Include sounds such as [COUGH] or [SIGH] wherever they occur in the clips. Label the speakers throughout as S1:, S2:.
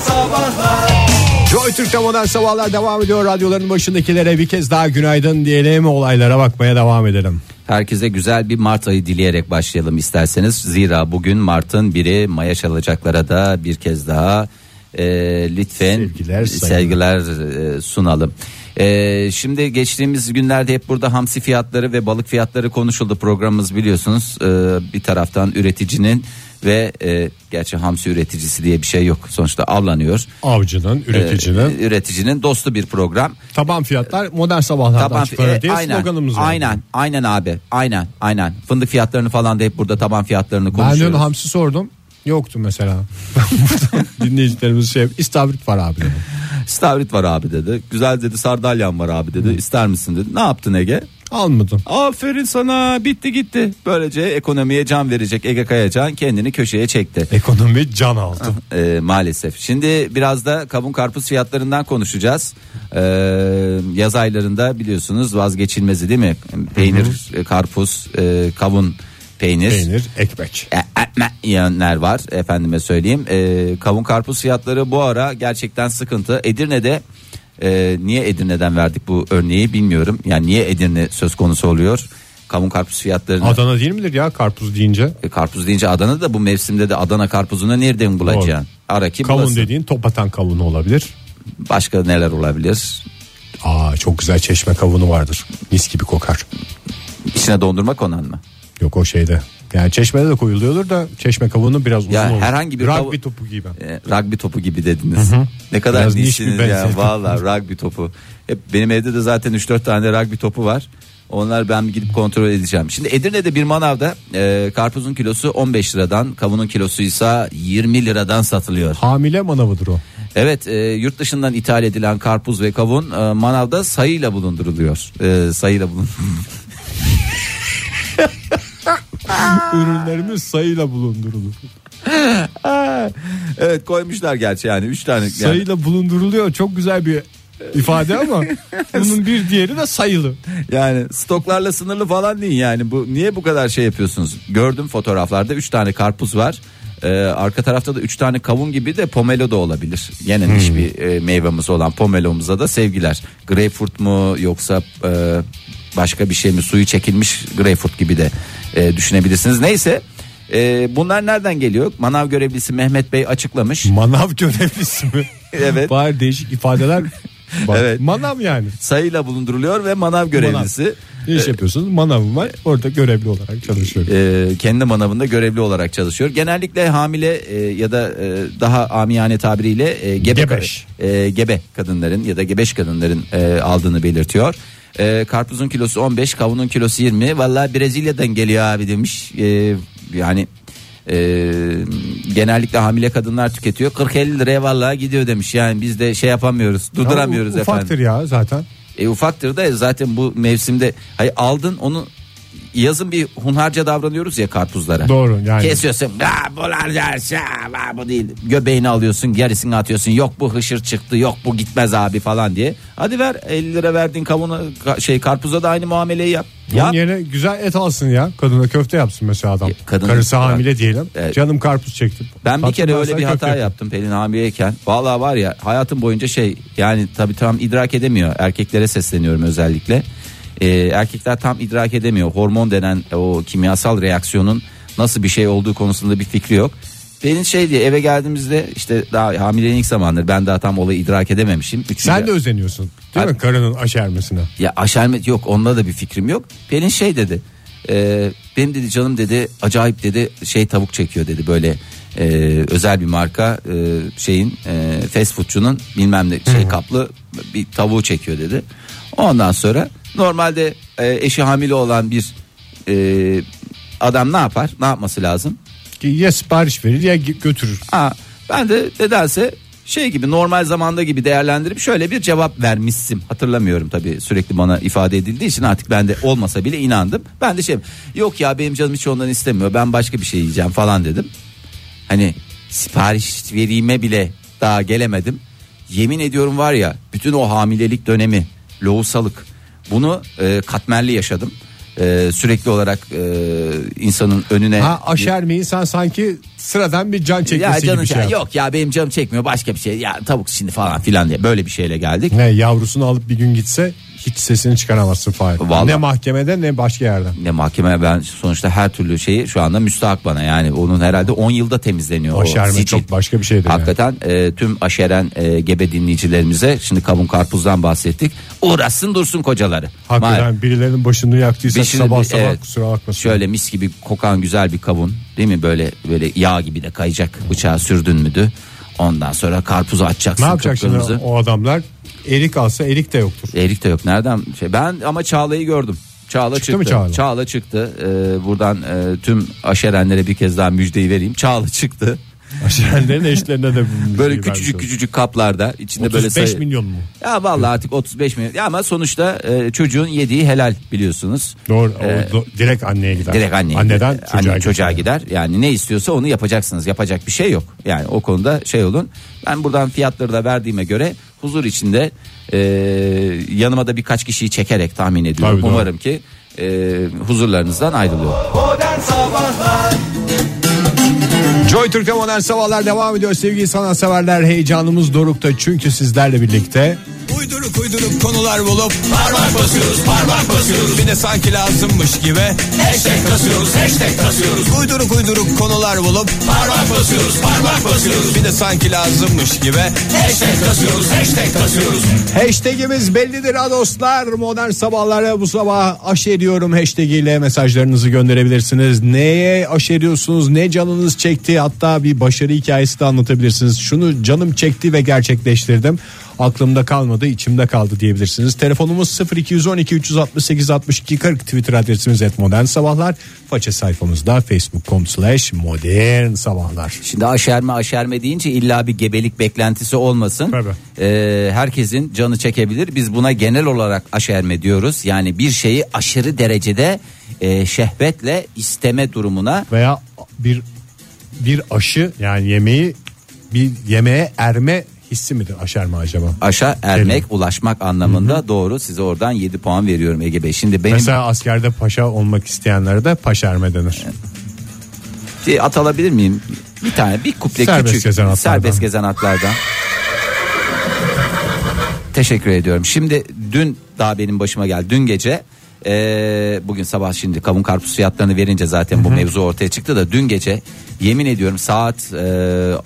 S1: Sabahlar
S2: Joy Türk'te modern sabahlar devam ediyor. Radyoların başındakilere bir kez daha günaydın diyelim. Olaylara bakmaya devam edelim.
S3: Herkese güzel bir Mart ayı dileyerek başlayalım isterseniz. Zira bugün Mart'ın biri Maya çalacaklara da bir kez daha e, lütfen
S2: Sevgiler, saygılar.
S3: sevgiler, e, sunalım. E, şimdi geçtiğimiz günlerde hep burada hamsi fiyatları ve balık fiyatları konuşuldu programımız biliyorsunuz. E, bir taraftan üreticinin ve e, gerçi hamsi üreticisi diye bir şey yok. Sonuçta avlanıyor.
S2: Avcının, üreticinin.
S3: E, üreticinin dostu bir program.
S2: taban fiyatlar modern sabahlardan
S3: Taban-
S2: çıkıyor
S3: e,
S2: diye
S3: aynen,
S2: sloganımız var.
S3: Aynen, aynen abi. Aynen, aynen. Fındık fiyatlarını falan da hep burada taban fiyatlarını
S2: Ben dün
S3: konuşuyoruz.
S2: hamsi sordum. Yoktu mesela. Buradan Dinleyicilerimiz şey istavrit var abi.
S3: [LAUGHS]
S2: dedi.
S3: Stavrit var abi dedi. Güzel dedi sardalyan var abi dedi. İster misin dedi. Ne yaptın Ege?
S2: Almadım.
S3: Aferin sana bitti gitti. Böylece ekonomiye can verecek Ege Kayacan kendini köşeye çekti.
S2: Ekonomi can aldı.
S3: [LAUGHS] Ee, maalesef. Şimdi biraz da kavun karpuz fiyatlarından konuşacağız. Ee, yaz aylarında biliyorsunuz vazgeçilmezi değil mi? Peynir, e, karpuz, e, kavun,
S2: Peynir, ekmek.
S3: E, etme yiyenler var efendime söyleyeyim. E, kavun karpuz fiyatları bu ara gerçekten sıkıntı. Edirne'de e, niye Edirne'den verdik bu örneği bilmiyorum. Yani niye Edirne söz konusu oluyor? Kavun karpuz fiyatlarını
S2: Adana değil midir ya karpuz deyince?
S3: E, karpuz deyince Adana'da da bu mevsimde de Adana karpuzunu nereden bulacaksın? Ara ki
S2: Kavun
S3: bulasın.
S2: dediğin top atan kavunu olabilir.
S3: Başka neler olabilir?
S2: Aa çok güzel çeşme kavunu vardır. Mis gibi kokar.
S3: İçine dondurma konan mı?
S2: Yok o şeyde. Yani çeşmede de koyuluyordur da çeşme kabuğunu biraz uzun
S3: Ya
S2: olur.
S3: herhangi bir
S2: Rugby
S3: kavu-
S2: topu gibi.
S3: E, rugby topu gibi dediniz. Ne kadar
S2: Biraz niş bir
S3: nişsiniz ya
S2: benzetme.
S3: valla rugby topu. Hep benim evde de zaten 3-4 tane rugby topu var. Onlar ben gidip kontrol edeceğim. Şimdi Edirne'de bir manavda e, karpuzun kilosu 15 liradan, kavunun kilosu ise 20 liradan satılıyor.
S2: Hamile manavıdır [LAUGHS] o.
S3: Evet, e, yurt dışından ithal edilen karpuz ve kavun e, manavda sayıyla bulunduruluyor. E, sayıyla bulun.
S2: [LAUGHS] Ürünlerimiz sayıyla bulundurulur.
S3: evet, koymuşlar gerçi yani 3 tane yani
S2: Sayıyla bulunduruluyor çok güzel bir
S3: [LAUGHS]
S2: ifade ama [LAUGHS] bunun bir diğeri de sayılı.
S3: Yani stoklarla sınırlı falan değil yani. Bu niye bu kadar şey yapıyorsunuz? Gördüm fotoğraflarda 3 tane karpuz var. Ee, arka tarafta da 3 tane kavun gibi de pomelo da olabilir. Yine
S2: Hmm.
S3: niş bir e, meyvemiz olan pomelomuza da sevgiler. Greyfurt mu yoksa e, başka bir şey mi? Suyu çekilmiş greyfurt gibi de e, düşünebilirsiniz. Neyse e, bunlar nereden geliyor? Manav görevlisi Mehmet Bey açıklamış.
S2: Manav görevlisi mi?
S3: Evet.
S2: Bari
S3: [LAUGHS]
S2: değişik ifadeler. Bak,
S3: Evet.
S2: Manav yani.
S3: Sayıyla bulunduruluyor ve manav görevlisi. Ee,
S2: Ne iş yapıyorsunuz? Manavım var. Orada görevli olarak çalışıyorum.
S3: e, kendi manavında görevli olarak çalışıyor. Genellikle hamile e, ya da e, daha amiyane tabiriyle e, gebe,
S2: Gebeş.
S3: e, gebe kadınların ya da gebeş kadınların e, aldığını belirtiyor. E, karpuzun kilosu 15, kavunun kilosu 20. Vallahi Brezilya'dan geliyor abi demiş. E, yani e, genellikle hamile kadınlar tüketiyor. 40-50 liraya vallahi gidiyor demiş. Yani biz de şey yapamıyoruz, [LAUGHS] durduramıyoruz
S2: Ya, u-
S3: efendim.
S2: Ufaktır ya zaten.
S3: E ufaktır da zaten bu mevsimde hayır aldın onu yazın bir hunharca davranıyoruz ya karpuzlara.
S2: Doğru, yani.
S3: Kesiyorsun. "Aa, Bunlar derse aa, bu değil. Göbeğini alıyorsun gerisini atıyorsun. Yok bu hışır çıktı yok bu gitmez abi falan diye. Hadi ver 50 lira verdin kavunu ka- şey karpuza da aynı muameleyi yap.
S2: Bunun
S3: Yap.
S2: yerine güzel et alsın ya. Kadına köfte yapsın mesela adam.
S3: Ya, kadın-
S2: Karısı hamile diyelim.
S3: Evet.
S2: Canım karpuz çektim.
S3: Ben bir
S2: Tatlım,
S3: kere öyle
S2: sana
S3: bir
S2: köfte
S3: hata
S2: yapayım.
S3: yaptım Pelin hamileyken. Vallahi var ya hayatım boyunca şey yani tabii tam idrak edemiyor. Erkeklere sesleniyorum özellikle. Ee, erkekler tam idrak edemiyor. Hormon denen o kimyasal reaksiyonun nasıl bir şey olduğu konusunda bir fikri yok. Pelin şey diye eve geldiğimizde işte daha hamileliğin ilk zamanları ben daha tam olayı idrak edememişim. Üçüncü-
S2: Sen de özeniyorsun değil mi
S3: Hayır.
S2: karının aşermesine?
S3: ya aşermet yok onda da bir fikrim yok. Pelin şey dedi. E, benim dedi canım dedi acayip dedi şey tavuk çekiyor dedi böyle e, özel bir marka e, şeyin e, fast foodçunun bilmem ne şey kaplı bir tavuğu çekiyor dedi. Ondan sonra normalde e, eşi hamile olan bir e, adam ne yapar? Ne yapması lazım?
S2: Ki Ya sipariş verir ya gi- götürür.
S3: Ha, ben de nedense şey gibi normal zamanda gibi değerlendirip şöyle bir cevap vermişsin. Hatırlamıyorum tabii sürekli bana ifade edildiği için artık ben de olmasa bile inandım. Ben de şey yok ya benim canım hiç ondan istemiyor ben başka bir şey yiyeceğim falan dedim. Hani sipariş verime bile daha gelemedim. Yemin ediyorum var ya bütün o hamilelik dönemi lohusalık bunu e, katmerli yaşadım. e, sürekli olarak e, insanın önüne
S2: Ha aşer mi insan sanki sıradan bir can çekmesi
S3: ya canım
S2: gibi şey.
S3: ya,
S2: yaptı.
S3: yok ya benim canım çekmiyor başka bir şey ya tavuk şimdi falan filan diye böyle bir şeyle geldik.
S2: Ne yavrusunu alıp bir gün gitse hiç sesini çıkaramazsın Fahir.
S3: Vallahi.
S2: Ne mahkemede ne başka yerden.
S3: Ne mahkeme ben sonuçta her türlü şeyi şu anda müstahak bana yani onun herhalde 10 yılda temizleniyor. o
S2: Aşerme
S3: sicil.
S2: çok başka bir şeydir. yani.
S3: Hakikaten e, tüm aşeren e, gebe dinleyicilerimize şimdi kavun karpuzdan bahsettik. Uğraşsın dursun kocaları.
S2: Hakikaten birilerinin başını yaktıysak
S3: Bir şimdi
S2: sabah
S3: bir-
S2: sabah
S3: evet.
S2: kusura bakmasın.
S3: Şöyle mis gibi kokan güzel bir kavun değil mi böyle böyle yağ gibi de kayacak bıçağı sürdün müdü. Ondan sonra karpuzu açacaksın.
S2: ne yapacak şimdi
S3: kıpkırmızı.
S2: o adamlar? Erik alsa erik de yoktur.
S3: Erik de yok nereden şey ben ama Çağla'yı gördüm. Çağla çıktı.
S2: Çıktı mı Çağla?
S3: çıktı. Ee, buradan e, tüm aşerenlere bir kez daha müjdeyi vereyim. Çağla çıktı.
S2: Aşerenlerin eşlerine de
S3: [LAUGHS] Böyle küçücük küçücük kaplarda içinde böyle
S2: 35
S3: sayı-
S2: milyon mu?
S3: Ya vallahi artık 35 milyon. Ya ama sonuçta e, çocuğun yediği helal biliyorsunuz.
S2: Doğru. o
S3: Ee,
S2: do- direkt anneye gider.
S3: Direkt anneye
S2: Anneden
S3: gider.
S2: çocuğa,
S3: Anne,
S2: gider.
S3: çocuğa gider. Yani ne istiyorsa onu yapacaksınız. Yapacak bir şey yok. Yani o konuda şey olun. Ben buradan fiyatları da verdiğime göre huzur içinde e, yanıma da birkaç kişiyi çekerek tahmin ediyorum.
S2: Tabii, doğru.
S3: Umarım ki e, huzurlarınızdan ayrılıyor.
S1: Modern Sabahlar
S2: Joy Türk'e modern sabahlar devam ediyor sevgili sanatseverler heyecanımız dorukta çünkü sizlerle birlikte
S1: Uyduruk uyduruk konular bulup Parmak basıyoruz parmak basıyoruz Bir de sanki lazımmış gibi Hashtag kasıyoruz hashtag kasıyoruz Uyduruk uyduruk konular bulup Parmak basıyoruz parmak basıyoruz Bir de sanki lazımmış gibi Hashtag kasıyoruz hashtag kasıyoruz
S2: hashtagimiz bellidir ha dostlar modern sabahlara bu sabah aşeriyorum hashtagiyle mesajlarınızı gönderebilirsiniz neye aşeriyorsunuz ne canınız çekti hatta bir başarı hikayesi de anlatabilirsiniz şunu canım çekti ve gerçekleştirdim aklımda kalmadı içimde kaldı diyebilirsiniz telefonumuz 0212 368 62 40 twitter adresimiz et modern sabahlar faça sayfamızda facebook.com slash modern sabahlar
S3: Şimdi aşerme aşerme deyince illa bir gebelik beklentisi olmasın.
S2: Tabii.
S3: Ee, herkesin canı çekebilir. Biz buna genel olarak aşerme diyoruz. Yani bir şeyi aşırı derecede e, şehvetle isteme durumuna
S2: veya bir bir aşı yani yemeği bir yemeğe erme hissi midir aşer mi acaba?
S3: aşa ermek
S2: Dedim.
S3: ulaşmak anlamında doğru. Size oradan 7 puan veriyorum Ege Bey. Şimdi benim
S2: Mesela askerde paşa olmak isteyenlere de paşerme denir.
S3: Bir at alabilir miyim? Bir tane bir kuple
S2: Serbest
S3: küçük
S2: gezen atlardan.
S3: serbest gezen atlardan. Teşekkür ediyorum. Şimdi dün daha benim başıma geldi. Dün gece eee, bugün sabah şimdi kavun karpuz fiyatlarını verince zaten bu mevzu ortaya çıktı da dün gece yemin ediyorum saat eee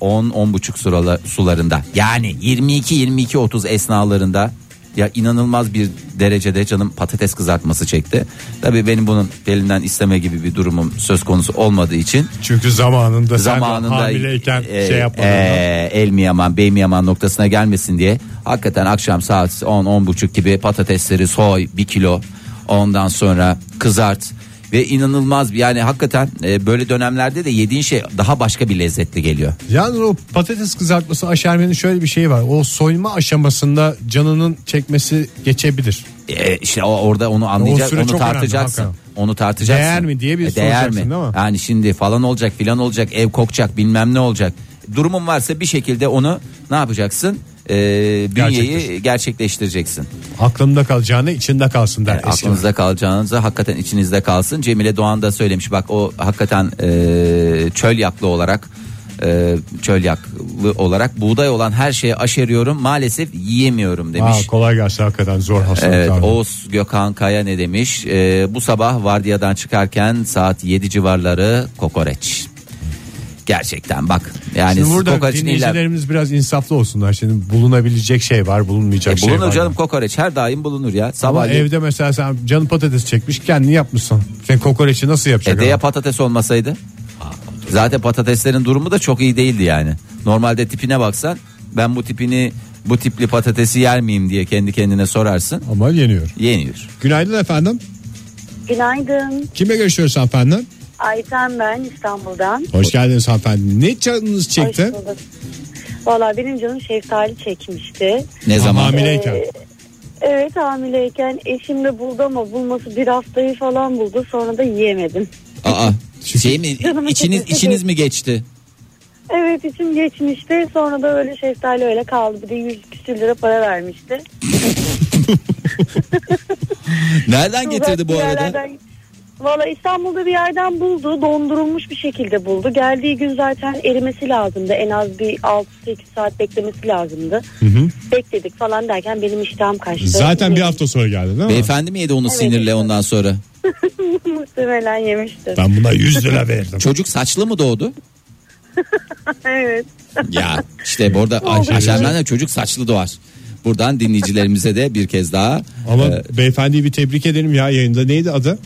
S3: 10 10 buçuk suralı, sularında yani 22 22 30 esnalarında ya inanılmaz bir derecede canım patates kızartması çekti. Tabii benim bunun elinden isteme gibi bir durumum söz konusu olmadığı için
S2: Çünkü zamanında, sen
S3: zamanında
S2: hamileyken
S3: e,
S2: şey yapmadın.
S3: e, el mi yaman bey mi yaman noktasına gelmesin diye hakikaten akşam saat 10 buçuk gibi patatesleri soy bir kilo ondan sonra kızart ve inanılmaz bir- yani hakikaten e, böyle dönemlerde de yediğin şey daha başka bir lezzetli geliyor.
S2: Yalnız o patates kızartması aşermenin şöyle bir şeyi var. O soyma aşamasında canının çekmesi geçebilir.
S3: E, işte o- orada onu
S2: O
S3: anlayacak,
S2: süre
S3: onu
S2: çok önemli,
S3: tartacaksın.
S2: hakikaten.
S3: onu tartacaksın. E,
S2: Değer mi diye bir
S3: değer
S2: soracaksın
S3: mi?
S2: değil mi?
S3: Yani şimdi falan olacak, filan olacak, ev kokacak, bilmem ne olacak. Durumun varsa bir şekilde onu ne yapacaksın? E,
S2: Gerçekleştir.
S3: bünyeyi gerçekleştireceksin.
S2: Aklımda kalacağını içinde kalsın der.
S3: Yani
S2: eskiden.
S3: aklınızda kalacağınızı hakikaten içinizde kalsın. Cemile Doğan da söylemiş bak o hakikaten e, çöl yaklı olarak e, çöl yaklı olarak buğday olan her şeye aşeriyorum maalesef yiyemiyorum demiş.
S2: Ha, kolay gelsin hakikaten zor hastalık.
S3: Evet
S2: abi.
S3: Oğuz Gökhan Kaya ne demiş? Ee, bu sabah vardiyadan çıkarken saat 7 civarları kokoreç. Gerçekten bak yani
S2: Şimdi burada
S3: kokoreçin illa... E,
S2: dinleyicilerimiz biraz insaflı olsunlar. Şimdi bulunabilecek şey var, bulunmayacak şey var.
S3: E, bulunur canım kokoreç her daim bulunur ya.
S2: Ama
S3: Sabah
S2: evde mesela sen canın patates çekmiş kendini yapmışsın. Sen kokoreçi nasıl yapacak?
S3: Evde
S2: adam?
S3: E, ya patates olmasaydı? Zaten patateslerin durumu da çok iyi değildi yani. Normalde tipine baksan ben bu tipini bu tipli patatesi yer miyim diye kendi kendine sorarsın.
S2: Ama yeniyor.
S3: Yeniyor.
S2: Günaydın efendim.
S4: Günaydın.
S2: Kime görüşüyoruz hanımefendi?
S4: Ayten ben İstanbul'dan.
S2: Hoş geldiniz hanımefendi. Ne canınız çekti?
S4: Hoş bulduk. Valla benim canım şeftali çekmişti.
S3: Ne zaman?
S2: Hamileyken.
S4: Ee, evet hamileyken eşim de buldu ama bulması bir haftayı falan buldu. Sonra da yiyemedim.
S3: Aa, şey mi?
S4: Canımın
S3: İçiniz,
S4: çekmesi
S3: içiniz mi geçti?
S4: Evet içim geçmişti. Sonra da öyle şeftali öyle kaldı. Bir de 100 küsür lira para vermişti.
S3: Nereden getirdi bu
S4: Uzak
S3: arada?
S4: yerlerden- Valla İstanbul'da bir yerden buldu. Dondurulmuş bir şekilde buldu. Geldiği gün zaten erimesi lazımdı. En az bir 6-8 saat beklemesi lazımdı. Bekledik falan derken benim iştahım kaçtı.
S5: Zaten bir hafta sonra geldi değil mi?
S3: Beyefendi mi yedi onu sinirle ondan sonra?
S4: [LAUGHS] Muhtemelen yemiştir. [LAUGHS]
S5: Ben buna 100 lira verdim.
S3: Çocuk saçlı mı doğdu?
S4: Evet.
S3: Ya işte burada Ayşe Ayşem'den de çocuk saçlı doğar. Buradan dinleyicilerimize de bir kez daha
S5: Ama
S3: e,
S5: beyefendiyi bir tebrik edelim ya yayında. Neydi adı?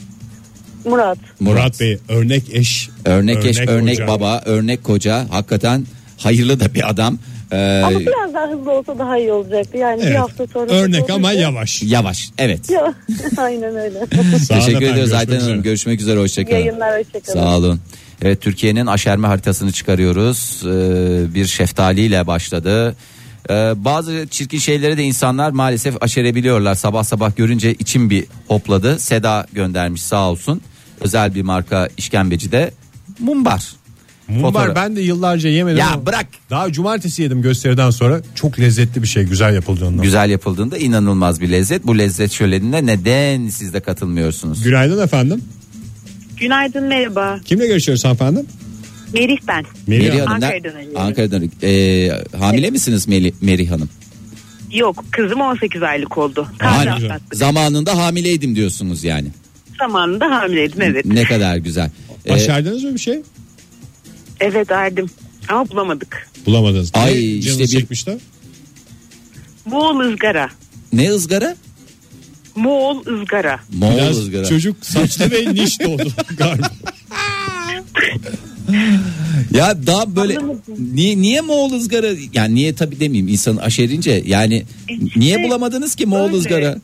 S4: Murat.
S3: Murat
S5: Murat Bey örnek eş.
S3: örnek eş, örnek
S5: hoca.
S3: baba, örnek koca hakikaten hayırlı da bir adam. E,
S4: Ama biraz daha hızlı olsa daha iyi olacaktı. Yani bir
S5: Ee, Evet.
S4: hafta sonra.
S5: Örnek ama yavaş.
S3: yavaş. Evet.
S4: [LAUGHS] Ya, [LAUGHS] aynen öyle.
S5: Sağ olun
S3: Teşekkür
S5: efendim,
S3: ediyoruz
S5: görüşmek
S3: Ayten
S5: üzere.
S3: Hanım. Görüşmek üzere. Hoşçakalın.
S4: Yayınlar hoşçakalın.
S3: Sağ olun. Evet Türkiye'nin aşerme haritasını çıkarıyoruz. Ee, bir şeftaliyle başladı. Ee, bazı çirkin şeylere de insanlar maalesef aşerebiliyorlar. Sabah sabah görünce içim bir hopladı. Seda göndermiş sağ olsun. Özel bir marka işkembeci de mumbar.
S2: Mumbar
S3: Fotoğraf.
S2: ben de yıllarca yemedim.
S3: Ya
S2: ama
S3: bırak.
S2: Daha cumartesi yedim gösteriden sonra. Çok lezzetli bir şey güzel yapıldığında.
S3: Güzel yapıldığında inanılmaz bir lezzet. Bu lezzet şölenine neden siz de katılmıyorsunuz?
S5: Günaydın efendim.
S6: Günaydın merhaba.
S5: Kimle görüşüyoruz efendim?
S6: Merih ben.
S5: Melih
S3: Melih
S5: Hanım.
S3: Hanım, ne-
S6: Ankara'dan arıyorum.
S3: Ankara'dan. Ee, hamile misiniz Melih, Merih Hanım?
S6: Yok kızım 18 aylık oldu.
S3: Hani
S6: Kahve atlattık.
S3: zamanında hamileydim diyorsunuz yani.
S6: Zamanında hamileydim evet.
S3: Ne kadar güzel. Ee,
S5: Başardınız mı bir şey?
S6: Evet erdim. Ama bulamadık.
S5: Bulamadınız.
S3: Ay,
S5: Ne
S3: işte
S5: canınız
S3: bir-
S5: çekmişti?
S6: Moğol ızgara.
S3: ne ızgara?
S6: Moğol ızgara.
S3: Moğol
S5: Biraz
S3: ızgara.
S5: çocuk saçlı ve niş oldu [LAUGHS] galiba.
S3: [LAUGHS] Ya daha böyle niye niye Moğol ızgara? Yani niye tabi demeyeyim insanın aşerince
S6: E,
S3: yani
S6: İşte
S3: niye bulamadınız ki Moğol
S6: öyle.
S3: ızgara?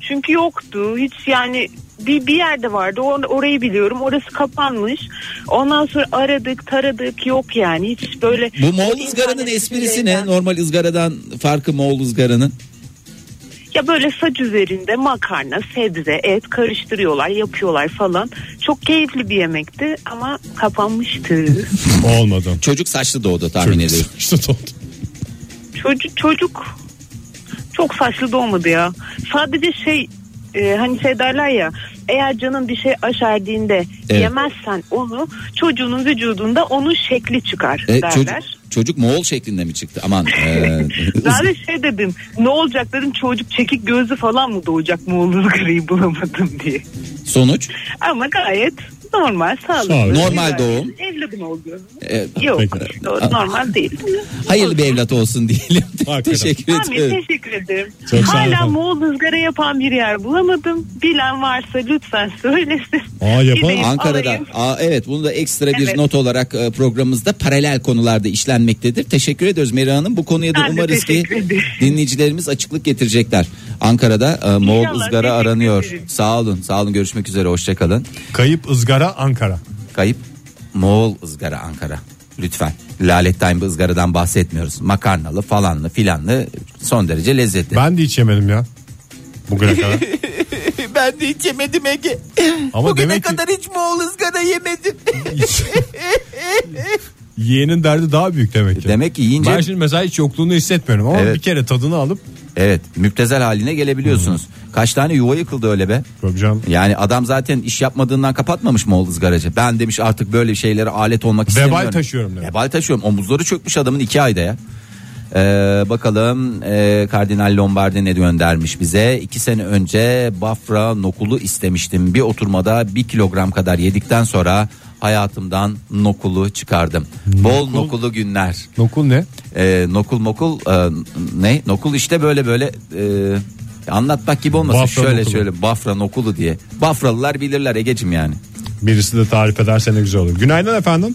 S6: Çünkü yoktu. Hiç yani bir, bir yerde vardı. Or- orayı biliyorum. Orası kapanmış. Ondan sonra aradık taradık yok yani. Hiç böyle.
S3: Bu Moğol ızgaranın esprisi ne? Normal ızgaradan farkı Moğol ızgaranın.
S6: Ya böyle saç üzerinde makarna, sebze, et karıştırıyorlar, yapıyorlar falan. Çok keyifli bir yemekti ama kapanmıştı.
S5: Olmadı.
S3: Çocuk saçlı doğdu tahmin
S5: Çocuk
S3: ediyorum.
S5: saçlı oldu.
S6: çocuk çocuk çok saçlı doğmadı ya. Sadece şey e, hani şey derler ya eğer canın bir şey aşerdiğinde
S3: Evet.
S6: yemezsen onu çocuğunun vücudunda onun şekli çıkar
S3: E,
S6: derler.
S3: çocuk, çocuk Moğol şeklinde mi çıktı? Aman.
S6: [LAUGHS]
S3: e,
S6: Ben de şey dedim ne olacak dedim çocuk çekik gözlü falan mı doğacak Moğol ızgarayı bulamadım diye.
S3: sonuç
S6: Ama gayet normal sağlıklı.
S5: Sağlıklı.
S3: Normal
S6: Güzel.
S3: doğum.
S6: Evladım oldu.
S3: e,
S6: Yok
S5: Peki.
S6: doğru, normal değil.
S3: hayırlı bir evlat olsun diyelim. [LAUGHS]
S5: Hakikaten.
S3: Teşekkür
S6: Ahmet
S3: ederim.
S6: teşekkür ederim.
S5: Çok sağ olun
S6: Hala
S5: efendim.
S6: Moğol ızgara yapan bir yer bulamadım. Bilen varsa lütfen söylesin.
S5: Aa, yapan-
S6: Gideyim,
S3: Ankara'da.
S6: alayım.
S3: Aa, evet bunu da ekstra bir
S6: Evet.
S3: not olarak e, programımızda paralel konularda işlenmektedir. Teşekkür ediyoruz Meri Hanım. Bu konuya da
S6: Ben de
S3: umarız ki
S6: teşekkür ederim.
S3: dinleyicilerimiz açıklık getirecekler. Ankara'da e, Moğol
S6: İnşallah,
S3: ızgara
S6: teşekkür
S3: aranıyor.
S6: ederim.
S3: Sağ olun. Sağ olun. Görüşmek üzere. Hoşçakalın.
S2: Kayıp ızgara Ankara.
S3: Kayıp Moğol ızgara Ankara. Lütfen. Lalettayn bir ızgaradan bahsetmiyoruz. Makarnalı falanlı filanlı son derece lezzetli.
S2: Ben de hiç yemedim ya. Bugüne kadar.
S3: Ben de hiç yemedim Ege.
S2: Ama Bugüne demek ki-
S3: hiç Moğol ızgara yemedim.
S2: Yeğenin derdi daha büyük demek ki.
S3: Demek ki yiyince
S2: Ben şimdi mesela hiç yokluğunu hissetmiyorum ama
S3: Evet.
S2: bir kere tadını alıp
S3: Evet müptezel haline gelebiliyorsunuz. Kaç tane yuva yıkıldı öyle be.
S5: Hocam
S3: Yani adam zaten iş yapmadığından kapatmamış mı oğlu ızgaracı? Ben demiş artık böyle şeylere alet olmak istemiyorum.
S2: taşıyorum demek.
S3: Vebal taşıyorum. Omuzları çökmüş adamın iki ayda ya. Ee, bakalım ee, Kardinal Lombardi ne göndermiş bize. İki sene önce Bafra nokulu istemiştim. Bir oturmada bir kilogram kadar yedikten sonra hayatımdan nokulu çıkardım. Bol nokulu günler.
S2: nokul ne?
S3: Ee, nokul mokul e, ne? Nokul işte böyle böyle e, anlatmak gibi olmasın.
S5: Bafra
S3: şöyle
S5: nokulu.
S3: şöyle Bafra nokulu diye. Bafralılar bilirler Ege'cim yani.
S5: birisi de tarif ederse ne güzel olur. Günaydın efendim.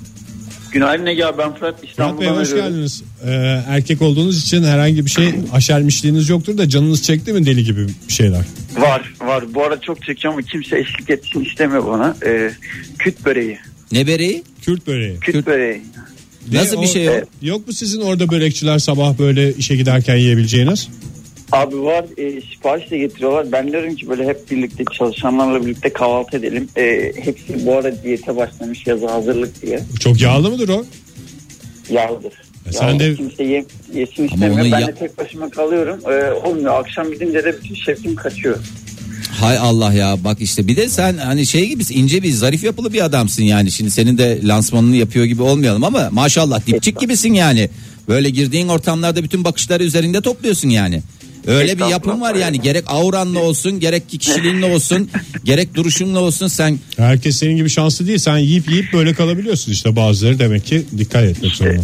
S7: Günaydın Ege abi ben Fırat
S5: Murat Bey
S7: İstanbul'dan
S5: hoş
S7: arıyorum.
S5: geldiniz. Ee, erkek olduğunuz için herhangi bir şey aşermişliğiniz yoktur da canınız çekti mi deli gibi bir şeyler.
S7: Var var bu ara çok çekiyorum ama kimse eşlik etsin istemiyor bana. Ee, küt böreği.
S3: Ne bereyi?
S5: Kürt böreği.
S7: Küt,
S3: Küt-
S7: böreği.
S3: Nasıl
S5: o-
S3: bir şey o?
S5: Yok mu sizin orada börekçiler sabah böyle işe giderken yiyebileceğiniz?
S7: Abi var e, sipariş de getiriyorlar. Ben diyorum ki böyle hep birlikte çalışanlarla birlikte kahvaltı edelim. E, hepsi bu ara diyete başlamış yazı hazırlık diye.
S5: Çok yağlı mıdır o?
S7: Yağlıdır.
S5: E, sen
S7: Yağlı
S5: de-
S7: kimse ye, yesin
S3: onu
S7: istemiyor. Ben
S3: ya-
S7: Ee, de tek başıma kalıyorum. E, olmuyor. Akşam gidince de bütün şefim kaçıyor.
S3: Hay Allah ya bak işte bir de sen hani şey gibisin ince bir zarif yapılı bir adamsın yani. Şimdi senin de lansmanını yapıyor gibi olmayalım ama maşallah dipçik gibisin yani. Böyle girdiğin ortamlarda bütün bakışları üzerinde topluyorsun yani. Öyle bir yapım var yani gerek auranla olsun gerek kişiliğinle
S7: [LAUGHS]
S3: olsun gerek duruşunla olsun sen
S5: Herkes senin gibi şanslı değil. Sen yiyip yiyip böyle kalabiliyorsun işte bazıları demek ki dikkat etmek
S3: [LAUGHS]
S5: zorunda.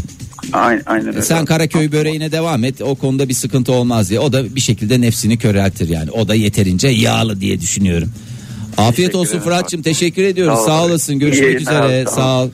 S7: Aynen, aynen öyle.
S3: sen Karaköy böreğine devam et o konuda bir sıkıntı olmaz diye o da bir şekilde nefsini köreltir yani o da yeterince yağlı diye düşünüyorum. Afiyet
S7: Teşekkür
S3: olsun
S7: ederim.
S3: Fırat'cığım teşekkür ediyoruz
S7: Sağ ol.
S3: sağ olasın görüşmek
S7: İyi yayınlar,
S3: üzere
S7: sağ ol.
S3: sağ ol.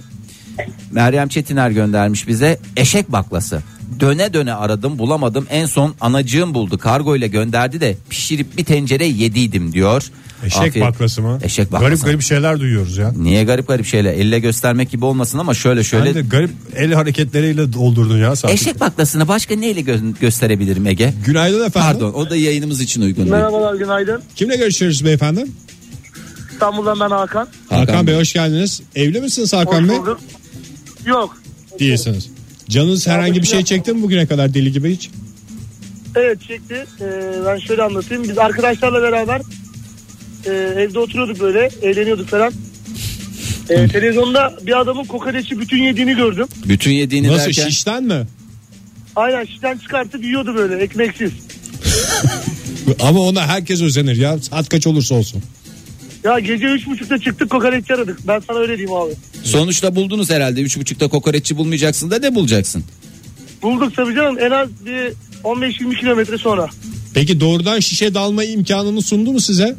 S3: Meryem Çetiner göndermiş bize eşek baklası. Döne döne aradım bulamadım en son anacığım buldu kargo ile gönderdi de pişirip bir tencere yediydim diyor.
S5: Eşek
S3: Afiyet-
S5: baklası mı?
S3: Eşek baklası.
S5: Garip garip şeyler duyuyoruz ya.
S3: Niye garip garip şeyler? Elle göstermek gibi olmasın ama şöyle şöyle.
S5: Ben de garip el hareketleriyle doldurdun ya. Saati.
S3: Eşek baklasını başka neyle gö- gösterebilirim Ege?
S5: Günaydın efendim.
S3: Pardon o da yayınımız için uygun değil.
S8: Merhabalar günaydın.
S5: Kimle görüşüyoruz beyefendi?
S8: İstanbul'dan ben Hakan.
S5: Hakan, Bey hoş geldiniz. Evli misiniz Hakan
S8: Hoş
S5: Bey?
S8: bulduk. Yok.
S5: Değilsiniz. Canınız herhangi bir şey çekti mi bugüne kadar deli gibi hiç?
S8: Evet çekti. Ee, ben şöyle anlatayım. Biz arkadaşlarla beraber e, evde oturuyorduk böyle. Eğleniyorduk falan. Ee, televizyonda bir adamın kokoreçi bütün yediğini gördüm.
S3: Bütün yediğini
S5: Nasıl
S3: derken
S5: şişten mi?
S8: Aynen şişten çıkartıp yiyordu böyle ekmeksiz.
S5: Ama ona herkes özenir ya. Saat kaç olursa olsun.
S8: Ya gece üç buçukta çıktık kokoreççi aradık. Ben sana öyle diyeyim abi.
S3: sonuçta buldunuz herhalde. Üç buçukta kokoreççi bulmayacaksın da ne bulacaksın?
S8: Bulduk tabii canım en az bir 15-20 kilometre sonra.
S5: Peki doğrudan şişe dalma imkanını sundu mu size?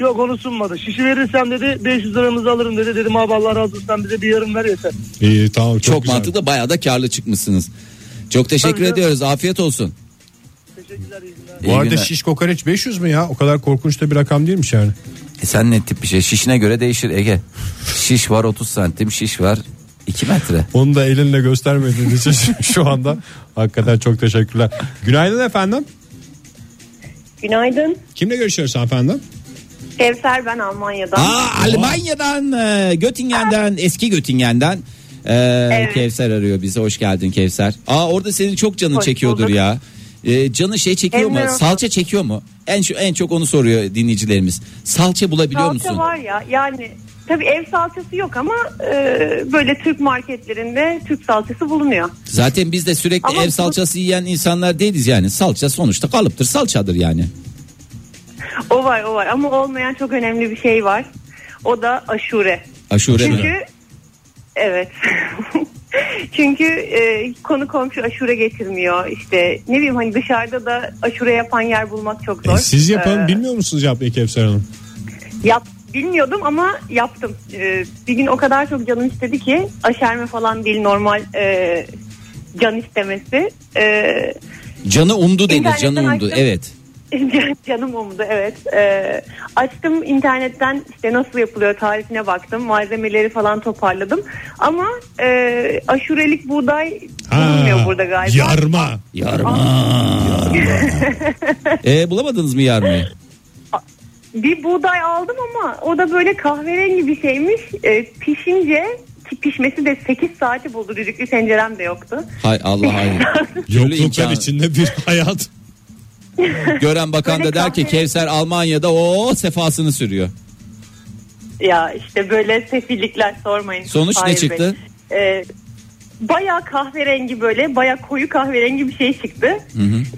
S8: Yok onu sunmadı. Şişi verirsem dedi 500 liramızı alırım dedi. Dedim abi Allah razı olsun sen bize bir yarım ver yeter.
S5: İyi tamam çok,
S3: Çok,
S5: güzel.
S3: mantıklı bayağı da karlı çıkmışsınız. Çok teşekkür
S8: Tabii canım.
S3: ediyoruz. Afiyet olsun.
S8: Teşekkürler iyi günler.
S3: İyi
S5: Bu arada
S3: günler.
S5: şiş kokoreç 500 mü ya? O kadar korkunç da bir rakam değilmiş yani.
S3: E sen ne tip bir şey? Şişine göre değişir Ege. Şiş var 30 santim, şiş var 2 metre.
S5: Onu da elinle göstermediğin [LAUGHS] için şu anda hakikaten çok teşekkürler. Günaydın efendim.
S9: Günaydın.
S5: Kimle görüşüyoruz efendim?
S9: Kevser ben Almanya'dan.
S3: Aa, Almanya'dan, e, Göttingen'den, eski Göttingen'den e, Kevser arıyor bizi. Hoş geldin Kevser. Aa orada senin çok canın
S9: Hoş
S3: çekiyordur
S9: bulduk.
S3: ya. E, canı şey çekiyor mu?
S9: Bilmiyorum.
S3: Salça çekiyor mu? En şu en çok onu soruyor dinleyicilerimiz. Salça bulabiliyor
S9: Salça
S3: musun?
S9: var ya yani tabii ev salçası yok ama e, böyle Türk marketlerinde Türk salçası bulunuyor.
S3: Zaten biz de sürekli
S9: Ama
S3: ev
S9: bu-
S3: salçası yiyen insanlar değiliz yani. Salça sonuçta kalıptır, salçadır yani.
S9: O var o var ama olmayan çok önemli bir şey var. O da aşure.
S3: Aşure mi?
S9: Çünkü evet. [LAUGHS] Çünkü e, konu komşu aşure getirmiyor. İşte ne bileyim hani dışarıda da aşure yapan yer bulmak çok zor.
S5: E, siz yapalım
S9: Ee,
S5: bilmiyor musunuz yapmayı Kevser Hanım?
S9: Yap, bilmiyordum ama yaptım. Ee, bir gün o kadar çok canım istedi ki aşerme falan değil normal e, can istemesi. Ee, [LAUGHS]
S3: Canı umdu denir,
S9: İnternetten
S3: canı umdu.
S9: açtım.
S3: Evet.
S9: Canım umdu evet. Ee, açtım internetten işte nasıl yapılıyor tarifine baktım. Malzemeleri falan toparladım. Ama e, aşurelik buğday bulunmuyor burada galiba. Ah.
S5: Yarma.
S3: Yarma. e, bulamadınız mı yarmayı?
S9: Bir buğday aldım ama o da böyle kahverengi bir şeymiş. Ee, pişince ki pişmesi de 8 saati buldu. Düdüklü tencerem de yoktu.
S3: Hay Allah hay.
S9: [LAUGHS]
S3: Türlü
S5: Yokluklar
S3: imkanı.
S5: içinde bir hayat.
S3: Gören bakan da
S9: Böyle
S3: der ki
S9: kahve-
S3: Kevser Almanya'da o sefasını sürüyor.
S9: Ya işte böyle sefillikler sormayın.
S3: Sonuç ne
S9: Hayır
S3: çıktı?
S9: Bey. Ee, bayağı kahverengi böyle bayağı koyu kahverengi bir şey çıktı.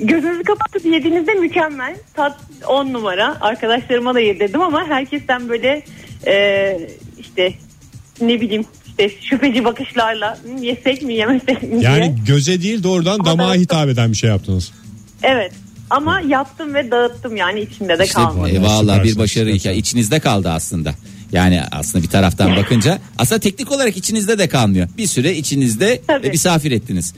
S9: Gözünüzü kapatıp yediğinizde mükemmel. Tat 10 numara. Arkadaşlarıma da yedirdim ama herkesten böyle e, işte ne bileyim işte şüpheci bakışlarla "Hı, yesek mi yemesek mi diye.
S5: Yani göze değil doğrudan
S9: Ama
S5: damağa
S9: ben-
S5: hitap eden bir şey yaptınız.
S9: Evet. Ama yaptım ve dağıttım yani içimde de
S3: İşte
S9: kalmadı.
S3: e, valla bir
S5: Süpersiniz,
S3: başarı
S5: süpersiniz.
S3: hikaye. İçinizde kaldı aslında. Yani aslında bir
S9: [LAUGHS]
S3: taraftan bakınca aslında teknik olarak içinizde de kalmıyor. Bir süre içinizde
S9: Tabii.
S3: e, misafir ettiniz.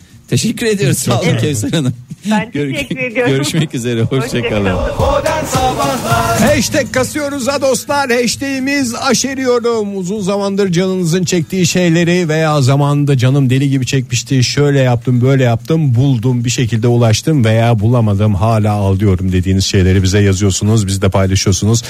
S5: [LAUGHS]
S3: Teşekkür ediyoruz. Sağ olun Kevser Hanım.
S9: Ben teşekkür ediyorum.
S3: Görüşmek üzere. Hoşçakalın.
S2: Hashtag kasıyoruz ha dostlar. Hashtag'imiz aşeriyorum. Uzun zamandır canınızın çektiği şeyleri veya zamanında canım deli gibi çekmişti. Şöyle yaptım böyle yaptım buldum bir şekilde ulaştım veya bulamadım hala alıyorum dediğiniz şeyleri bize yazıyorsunuz. Biz de paylaşıyorsunuz.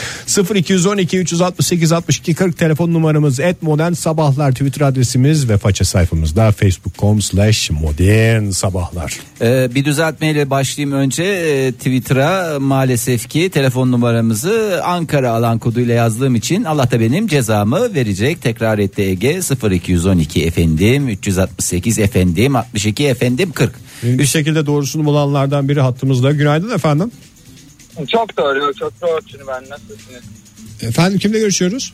S2: 0212 368 62 40 telefon numaramız et modern sabahlar twitter adresimiz ve faça sayfamızda facebook.com slash modern sabahlar.
S3: Ee, bir düzeltme neyle başlayayım önce Ee, Twitter'a maalesef ki telefon numaramızı Ankara alan koduyla yazdığım için Allah da benim cezamı verecek. Tekrar etti Ege 0212 efendim 368 efendim 62 efendim 40.
S2: Bir şekilde doğrusunu bulanlardan biri hattımızda. Günaydın efendim.
S10: Çok doğru, köprü orçunu ben nasılsınız?
S2: Efendim kimle görüşüyoruz?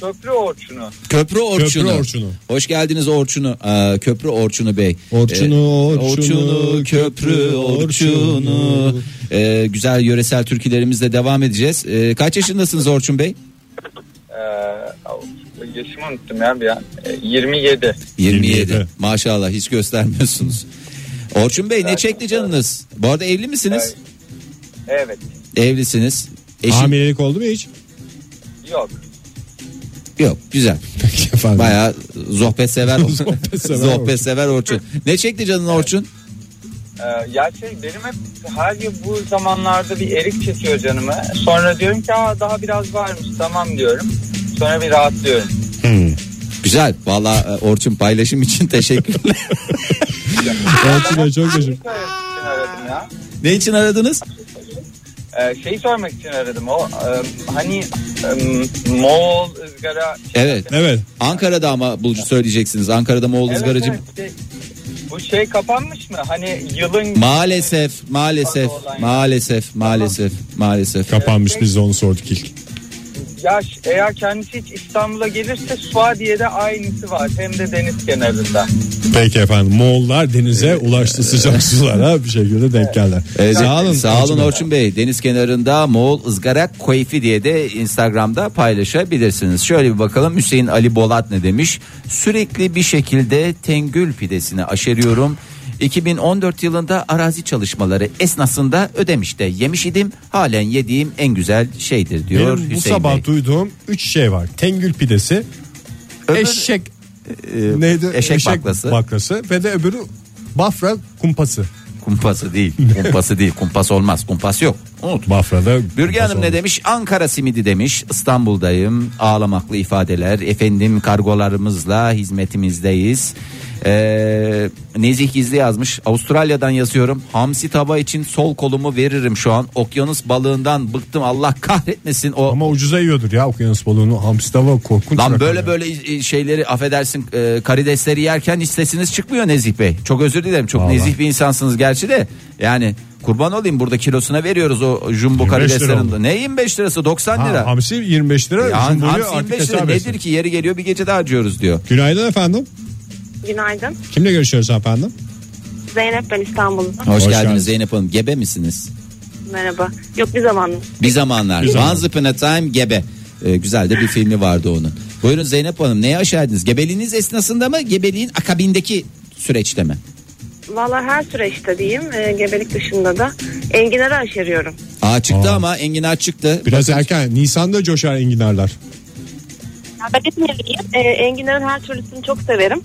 S10: Köprü orçunu.
S3: Köprü Orçunu.
S2: Köprü Orçunu.
S3: Hoş geldiniz Orçunu. Aa, köprü Orçunu Bey. Ee,
S2: Orçunu, Orçunu,
S3: Köprü Orçunu. Ee, güzel yöresel türkülerimizle devam edeceğiz. Ee, kaç yaşındasınız Orçun Bey?
S10: Ee, yaşımı unuttum ya bir an. Ee, 27.
S3: 27. Maşallah hiç göstermiyorsunuz. Orçun Bey ne çekti canınız? Bu arada evli misiniz?
S10: Evet.
S3: Evlisiniz. Eşin
S2: Hamilelik oldu mu hiç?
S10: Yok.
S3: yok güzel.
S2: Efendim.
S3: Baya zohbet
S2: [LAUGHS]
S3: sever
S2: Zohbet sever Orçun.
S3: zohbet sever Orçun. Ne çekti canın Orçun?
S10: Ee, ya şey benim hep her yıl bu zamanlarda bir erik çekiyor canımı. Sonra diyorum ki Aa, daha biraz varmış tamam diyorum. Sonra bir rahatlıyorum.
S3: Hmm. Güzel. Valla Orçun paylaşım için [LAUGHS]
S2: [LAUGHS]
S3: teşekkürler.
S2: Orçun'a çok teşekkür
S10: Şey sormak için aradım ya.
S3: ne için aradınız?
S10: Ee, şeyi sormak için aradım o e, hani e, Moğol ızgara
S3: Evet.
S2: Evet.
S3: Ankara'da ama bulucu söyleyeceksiniz. Ankara'da Moğol
S10: Evet,
S3: ızgaracı.
S10: evet, şey- bu şey kapanmış mı? Hani yılın
S3: Maalesef, maalesef, maalesef, maalesef, maalesef.
S2: Kapanmış biz de onu sorduk ilk.
S10: yaş eğer kendisi hiç İstanbul'a gelirse Suadiye'de aynısı var. Hem de deniz kenarında.
S2: Peki efendim Moğollar denize ulaştı sıcak sulara bir şekilde denk geldiler.
S3: Evet,
S2: sağ olun.
S3: Ee, Sağ olun
S2: Bey.
S3: Orçun Bey. Deniz kenarında Moğol ızgara keyfi diye de Instagram'da paylaşabilirsiniz. Şöyle bir bakalım Hüseyin Ali Bolat ne demiş? Sürekli bir şekilde tengül pidesini aşeriyorum. 2014 yılında arazi çalışmaları esnasında ödemiş de yemiş idim. Halen yediğim en güzel şeydir diyor
S2: Benim bu
S3: Hüseyin
S2: sabah
S3: Bey.
S2: duyduğum 3 şey var. Tengül pidesi,
S3: Öbür-
S2: eşek
S3: e,
S2: neydi?
S3: Eşek, baklası.
S2: baklası ve de öbürü Bafra kumpası.
S3: Kumpası değil. Kumpası değil. Kumpas olmaz. Kumpas yok. Unut.
S2: Bafra'da
S3: Bürge
S2: kumpası
S3: Hanım ne
S2: olmuş.
S3: demiş? Ankara simidi demiş. İstanbul'dayım. Ağlamaklı ifadeler. Efendim kargolarımızla hizmetimizdeyiz. Ee, Nezih Gizli yazmış. Avustralya'dan yazıyorum. Hamsi tava için sol kolumu veririm şu an. Okyanus balığından bıktım. Allah kahretmesin o.
S2: Ama ucuza yiyordur ya okyanus balığını. Hamsi tava korkunç.
S3: Lan
S2: rakam
S3: böyle
S2: ya.
S3: böyle e, şeyleri affedersin e, karidesleri yerken hiç sesiniz çıkmıyor Nezih Bey. Çok özür dilerim. Çok
S2: Vallahi.
S3: nezih bir insansınız gerçi de. Yani kurban olayım burada kilosuna veriyoruz o jumbo
S2: 25 lira
S3: karideslerin.
S2: oldu.
S3: Ne 25 lirası 90
S2: Ha,
S3: lira.
S2: hamsi 25 lira.
S3: şey Ya
S2: jumboyu
S3: hamsi
S2: artık
S3: 25 lira
S2: hesap etsin.
S3: nedir ki yeri geliyor bir gece daha harcıyoruz diyor.
S2: Günaydın efendim.
S9: Günaydın.
S2: Kimle görüşüyoruz efendim?
S9: Zeynep ben İstanbul'dan.
S3: Hoş,
S2: Hoş
S3: geldiniz
S2: geldiniz.
S3: Zeynep Hanım. Gebe misiniz?
S9: Merhaba. Yok bir zaman.
S3: Bir zamanlar.
S2: zaman.
S3: Once Upon a Time Gebe. Ee, güzel de bir filmi vardı onun. Buyurun Zeynep Hanım neye aşerdiniz? Gebeliğiniz esnasında mı gebeliğin akabindeki süreçte mi?
S9: Valla her süreçte diyeyim e, gebelik dışında da enginarı aşeriyorum.
S3: Aa çıktı
S2: Aa.
S3: ama enginar çıktı.
S2: Biraz erken. Nisan'da coşar enginarlar.
S9: Ya Ben İzmirliyim. E, enginarın her türlüsünü çok severim.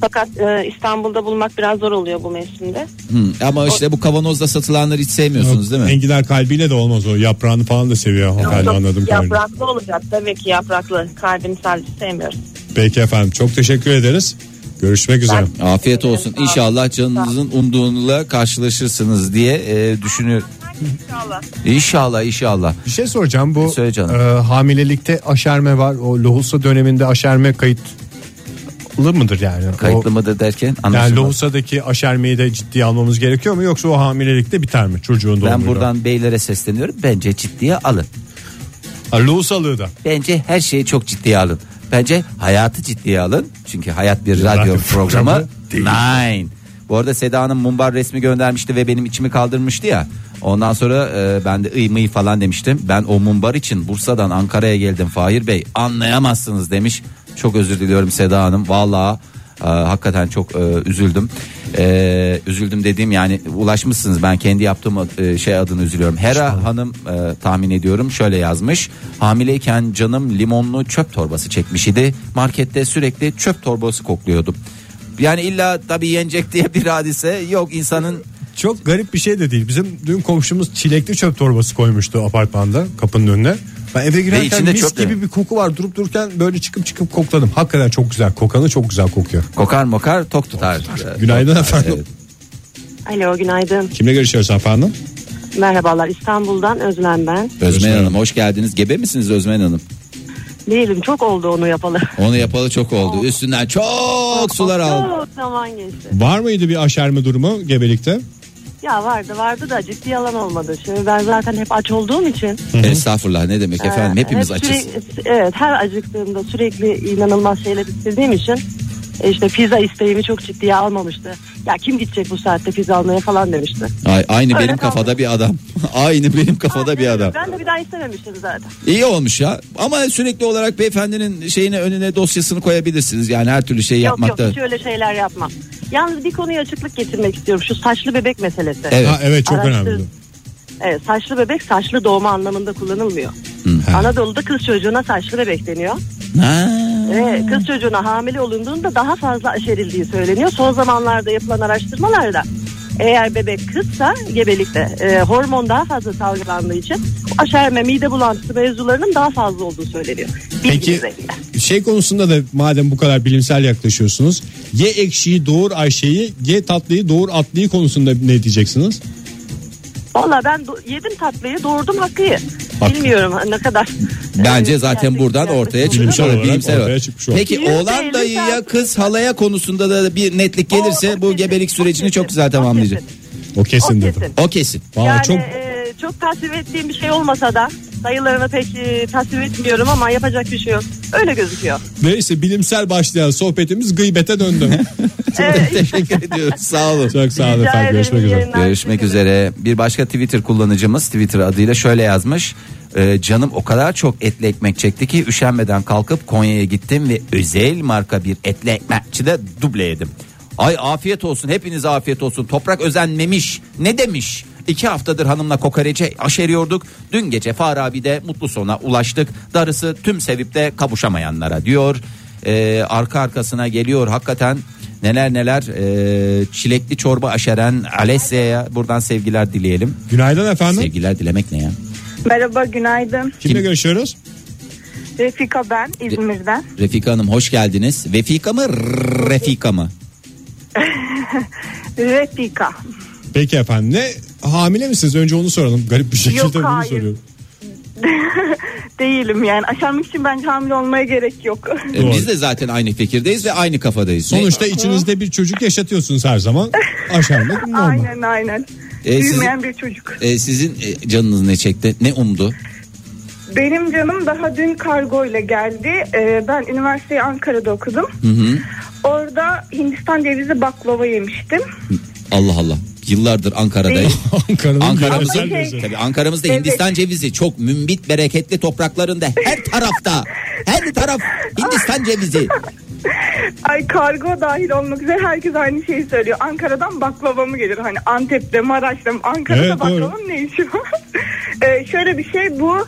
S9: Fakat e, İstanbul'da bulmak biraz zor oluyor bu mevsimde.
S3: Hı, ama işte bu kavanozda satılanları hiç sevmiyorsunuz değil mi?
S2: Enginar kalbiyle de olmaz o. Yaprağını falan da seviyor hanımefendi
S9: Yok,
S2: anladım kadarıyla.
S9: Yapraklı olacak tabii ki yapraklı. Kalbini sadece sevmiyorum.
S2: Peki efendim çok teşekkür ederiz. Görüşmek üzere.
S3: Afiyet olsun. İnşallah canınızın umduğunla karşılaşırsınız diye e, düşünüyorum.
S9: İnşallah.
S3: İnşallah inşallah.
S2: Bir şey soracağım bu
S3: Söyle canım.
S2: e, hamilelikte aşerme var. O lohusa döneminde aşerme kayıtlı mıdır yani?
S3: Kayıtlı
S2: O,
S3: mıdır derken
S2: yani
S3: anlaşılmaz.
S2: lohusadaki aşermeyi de ciddiye almamız gerekiyor mu yoksa o hamilelikte biter mi çocuğun doğumuyla?
S3: Ben buradan beylere sesleniyorum. Bence ciddiye alın.
S2: Ha, lohusalığı da.
S3: Bence her şeyi çok ciddiye alın. Bence hayatı ciddiye alın. Çünkü hayat bir radyo,
S2: radyo
S3: programı.
S2: programı
S3: Nine. Bu arada Seda'nın mumbar resmi göndermişti ve benim içimi kaldırmıştı ya. Ondan sonra e, ben de ıy mıy falan demiştim. Ben o mumbar için Bursa'dan Ankara'ya geldim Fahir Bey. Anlayamazsınız demiş. Çok özür diliyorum Seda Hanım. Vallahi e, hakikaten çok e, üzüldüm. E, üzüldüm dediğim yani ulaşmışsınız. Ben kendi yaptığım e, şey adını üzülüyorum. Hera Hanım e, tahmin ediyorum şöyle yazmış. Hamileyken canım limonlu çöp torbası çekmiş idi. Markette sürekli çöp torbası kokluyordum. Yani illa tabii yenecek diye bir hadise yok insanın
S2: Çok garip bir şey de değil. Bizim dün komşumuz çilekli çöp torbası koymuştu apartmanda kapının önüne. Ben eve girerken
S3: içinde
S2: mis
S3: çöp de.
S2: gibi bir koku var durup dururken böyle çıkıp çıkıp kokladım. Hakikaten çok güzel kokanı çok güzel kokuyor.
S3: kokar mokar tok tutar. Ee,
S2: Günaydın
S3: tok tutar,
S2: efendim.
S3: evet.
S9: Alo günaydın.
S2: Kimle görüşüyoruz efendim?
S9: Merhabalar İstanbul'dan Özlem ben.
S3: Özmen Hanım hoş geldiniz. Gebe misiniz Özmen Hanım?
S9: Değilim çok oldu onu yapalı.
S3: Onu yapalı çok oldu. Üstünden çok sular aldı.
S9: Çok zaman geçti.
S2: Var mıydı bir aşerme durumu gebelikte?
S9: Ya vardı vardı da ciddi yalan olmadı. Şimdi ben zaten hep aç olduğum için.
S3: Estağfurullah ne demek efendim
S9: e,
S3: hepimiz
S9: hep
S3: açız.
S9: sürekli- evet her acıktığımda sürekli inanılmaz şeyler istediğim için e, işte pizza isteğimi çok ciddiye almamıştı. Ya kim gidecek bu saatte pizza almaya falan demişti.
S3: Ay, aynı
S9: Öyle
S3: benim
S9: kaldı.
S3: kafada bir adam. [LAUGHS] aynı benim kafada bir adam.
S9: Ben de bir daha istememiştim zaten.
S3: İyi olmuş ya. Ama sürekli olarak beyefendinin şeyine önüne dosyasını koyabilirsiniz. Yani her türlü şey
S9: Yok
S3: yapmakta.
S9: yok hiç öyle şeyler yapmam. Yalnız bir konuya açıklık getirmek istiyorum. Şu saçlı bebek meselesi.
S3: Evet. Ha,
S2: evet, çok
S9: Araştır-
S2: önemli.
S9: Evet, saçlı bebek saçlı doğma anlamında kullanılmıyor.
S3: Hmm.
S9: Anadolu'da kız çocuğuna saçlı bebek deniyor. Ve kız çocuğuna hamile olunduğunda daha fazla aşerildiği söyleniyor. Son zamanlarda yapılan araştırmalarda eğer bebek kızsa gebelikte e, hormon daha fazla salgılandığı için aşerme mide bulantısı mevzularının daha fazla olduğu söyleniyor.
S2: Peki şey konusunda da madem bu kadar bilimsel yaklaşıyorsunuz. Ye ekşiyi doğur Ayşe'yi, ye tatlıyı doğur atlıyı konusunda ne diyeceksiniz?
S9: Valla ben do- yedim tatlıyı doğurdum hakkıyı.
S3: Hakkı.
S9: Bilmiyorum ne kadar.
S3: Bence zaten buradan ortaya çıkmış
S2: Bilimsel
S3: olur.
S2: olarak
S3: Bilimsel
S2: ortaya
S3: olarak.
S2: çıkmış olur.
S3: Peki
S9: Yüzde
S3: oğlan
S9: elli
S3: dayıya kız halaya konusunda da bir netlik gelirse bu gebelik sürecini çok güzel tamamlayacak.
S2: O kesin
S9: O dedim. kesin.
S3: O kesin.
S9: yani çok... [LAUGHS] çok tasvip ettiğim bir şey olmasa da dayılarını pek e, tasvip etmiyorum ama yapacak bir şey yok. Öyle gözüküyor.
S2: Neyse bilimsel başlayan sohbetimiz
S9: [LAUGHS]
S2: gıybete döndü.
S3: [LAUGHS]
S9: E,
S3: Teşekkür ediyoruz. Sağ olun.
S2: Çok sağ olun
S9: Rica
S2: efendim.
S9: ederim,
S2: Görüşmek
S9: iyi
S2: üzere.
S9: yayınlar.
S3: Görüşmek üzere. Bir başka Twitter kullanıcımız Twitter adıyla şöyle yazmış. "Ee, canım o kadar çok etli ekmek çekti ki üşenmeden kalkıp Konya'ya gittim ve özel marka bir etli ekmekçide duble yedim. Ay afiyet olsun hepinize afiyet olsun toprak özenmemiş ne demiş İki haftadır hanımla kokorece aşeriyorduk. Dün gece Farabi'de mutlu sona ulaştık. Darısı tüm sevip de kavuşamayanlara diyor. Ee, arka arkasına geliyor hakikaten neler neler e, çilekli çorba aşeren Alessia'ya buradan sevgiler dileyelim.
S2: Günaydın efendim.
S3: Sevgiler dilemek ne ya?
S11: Merhaba günaydın.
S2: Kimle görüşüyoruz?
S11: Refika ben
S3: [LAUGHS]
S11: İzmir'den.
S3: Refika Hanım hoş geldiniz. Vefika mı Refika mı?
S11: Refika. [LAUGHS]
S2: Peki efendim. Ne hamile misiniz? Önce onu soralım. Garip bir şekilde
S11: Yok,
S2: bunu
S11: hayır.
S2: soruyorum.
S11: Değilim yani. Aşermek için bence hamile olmaya gerek yok.
S3: E, biz de zaten aynı fikirdeyiz ve aynı kafadayız.
S2: Sonuçta
S3: Ne-
S2: içinizde bir çocuk yaşatıyorsunuz her
S11: [LAUGHS]
S2: zaman. Aşermek normal.
S11: aynen aynen.
S3: E, siz-
S11: Büyümeyen bir çocuk.
S3: E, sizin e, canınız ne çekti? Ne umdu?
S11: Benim canım daha dün kargo ile geldi. Ee, ben üniversiteyi Ankara'da okudum.
S3: Hı hı.
S11: Orada Hindistan cevizi baklava yemiştim.
S3: Allah Allah. Yıllardır Ankara'dayım.
S11: Değil.
S2: [LAUGHS]
S11: şey-
S2: Ankara'nın
S3: Ankara'mızda,
S11: yöresel lezzeti.
S3: tabii Ankara'mızda Hindistan cevizi çok mümbit bereketli topraklarında her tarafta her taraf Hindistan
S11: [LAUGHS]
S3: cevizi.
S11: Ay kargo dahil olmak üzere herkes aynı şeyi söylüyor. Ankara'dan baklava mı gelir? Hani Antep'te, Maraş'ta mı? Ankara'da
S2: Evet, doğru.
S11: baklavanın ne işi var? [LAUGHS] Ee, şöyle bir şey bu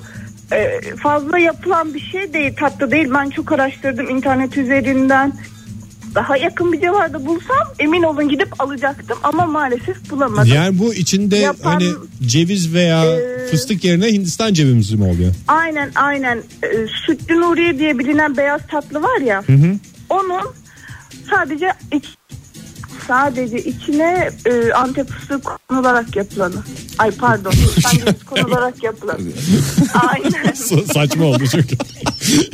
S11: e, fazla yapılan bir şey değil. Tatlı değil. Ben çok araştırdım internet üzerinden. Daha yakın bir civarda bulsam emin olun gidip alacaktım. Ama maalesef bulamadım.
S2: Yani bu içinde
S11: Yapan-
S2: hani ceviz veya
S11: Ee,
S2: fıstık yerine Hindistan cevizi mi oluyor?
S11: Aynen aynen. Ee, Sütlü Nuriye diye bilinen beyaz tatlı var ya. Onun sadece iç- sadece içine e, antep fıstığı konularak yapılanı. Ay pardon. Ben de konularak yapılanı. aynen.
S2: [LAUGHS] Sa- Saçma oldu
S11: [LAUGHS]
S2: çünkü.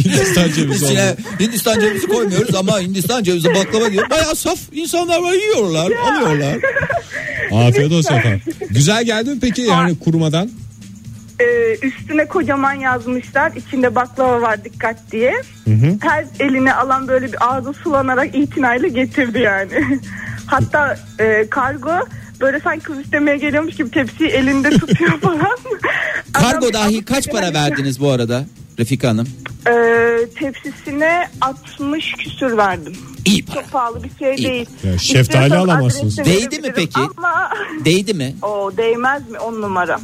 S2: Hindistan cevizi oldu.
S3: İçine Hindistan cevizi koymuyoruz ama Hindistan cevizi baklava diyor. Bayağı saf insanlar var yiyorlar, alıyorlar.
S2: Afiyet olsun efendim. Güzel geldi mi peki yani kurumadan?
S11: Ee, üstüne kocaman yazmışlar. İçinde baklava var dikkat diye. Her elini alan böyle bir ağzı sulanarak itinayla getirdi yani. [LAUGHS] Hatta e, kargo böyle sanki kız istemeye geliyormuş gibi tepsiyi elinde tutuyor falan.
S3: Kargo
S11: Adam-
S3: dahi kaç para verdiniz bu arada Refika Hanım?
S11: Ee, tepsisine 60 küsür verdim.
S3: İyi para.
S11: Çok pahalı bir şey
S3: İyi.
S11: değil.
S2: Ya şeftali
S11: İstiyorsan
S2: alamazsınız.
S11: adresini
S3: Değdi mi
S11: verebilirim
S3: peki?
S11: Ama
S3: Değdi mi?
S11: o değmez mi on numara?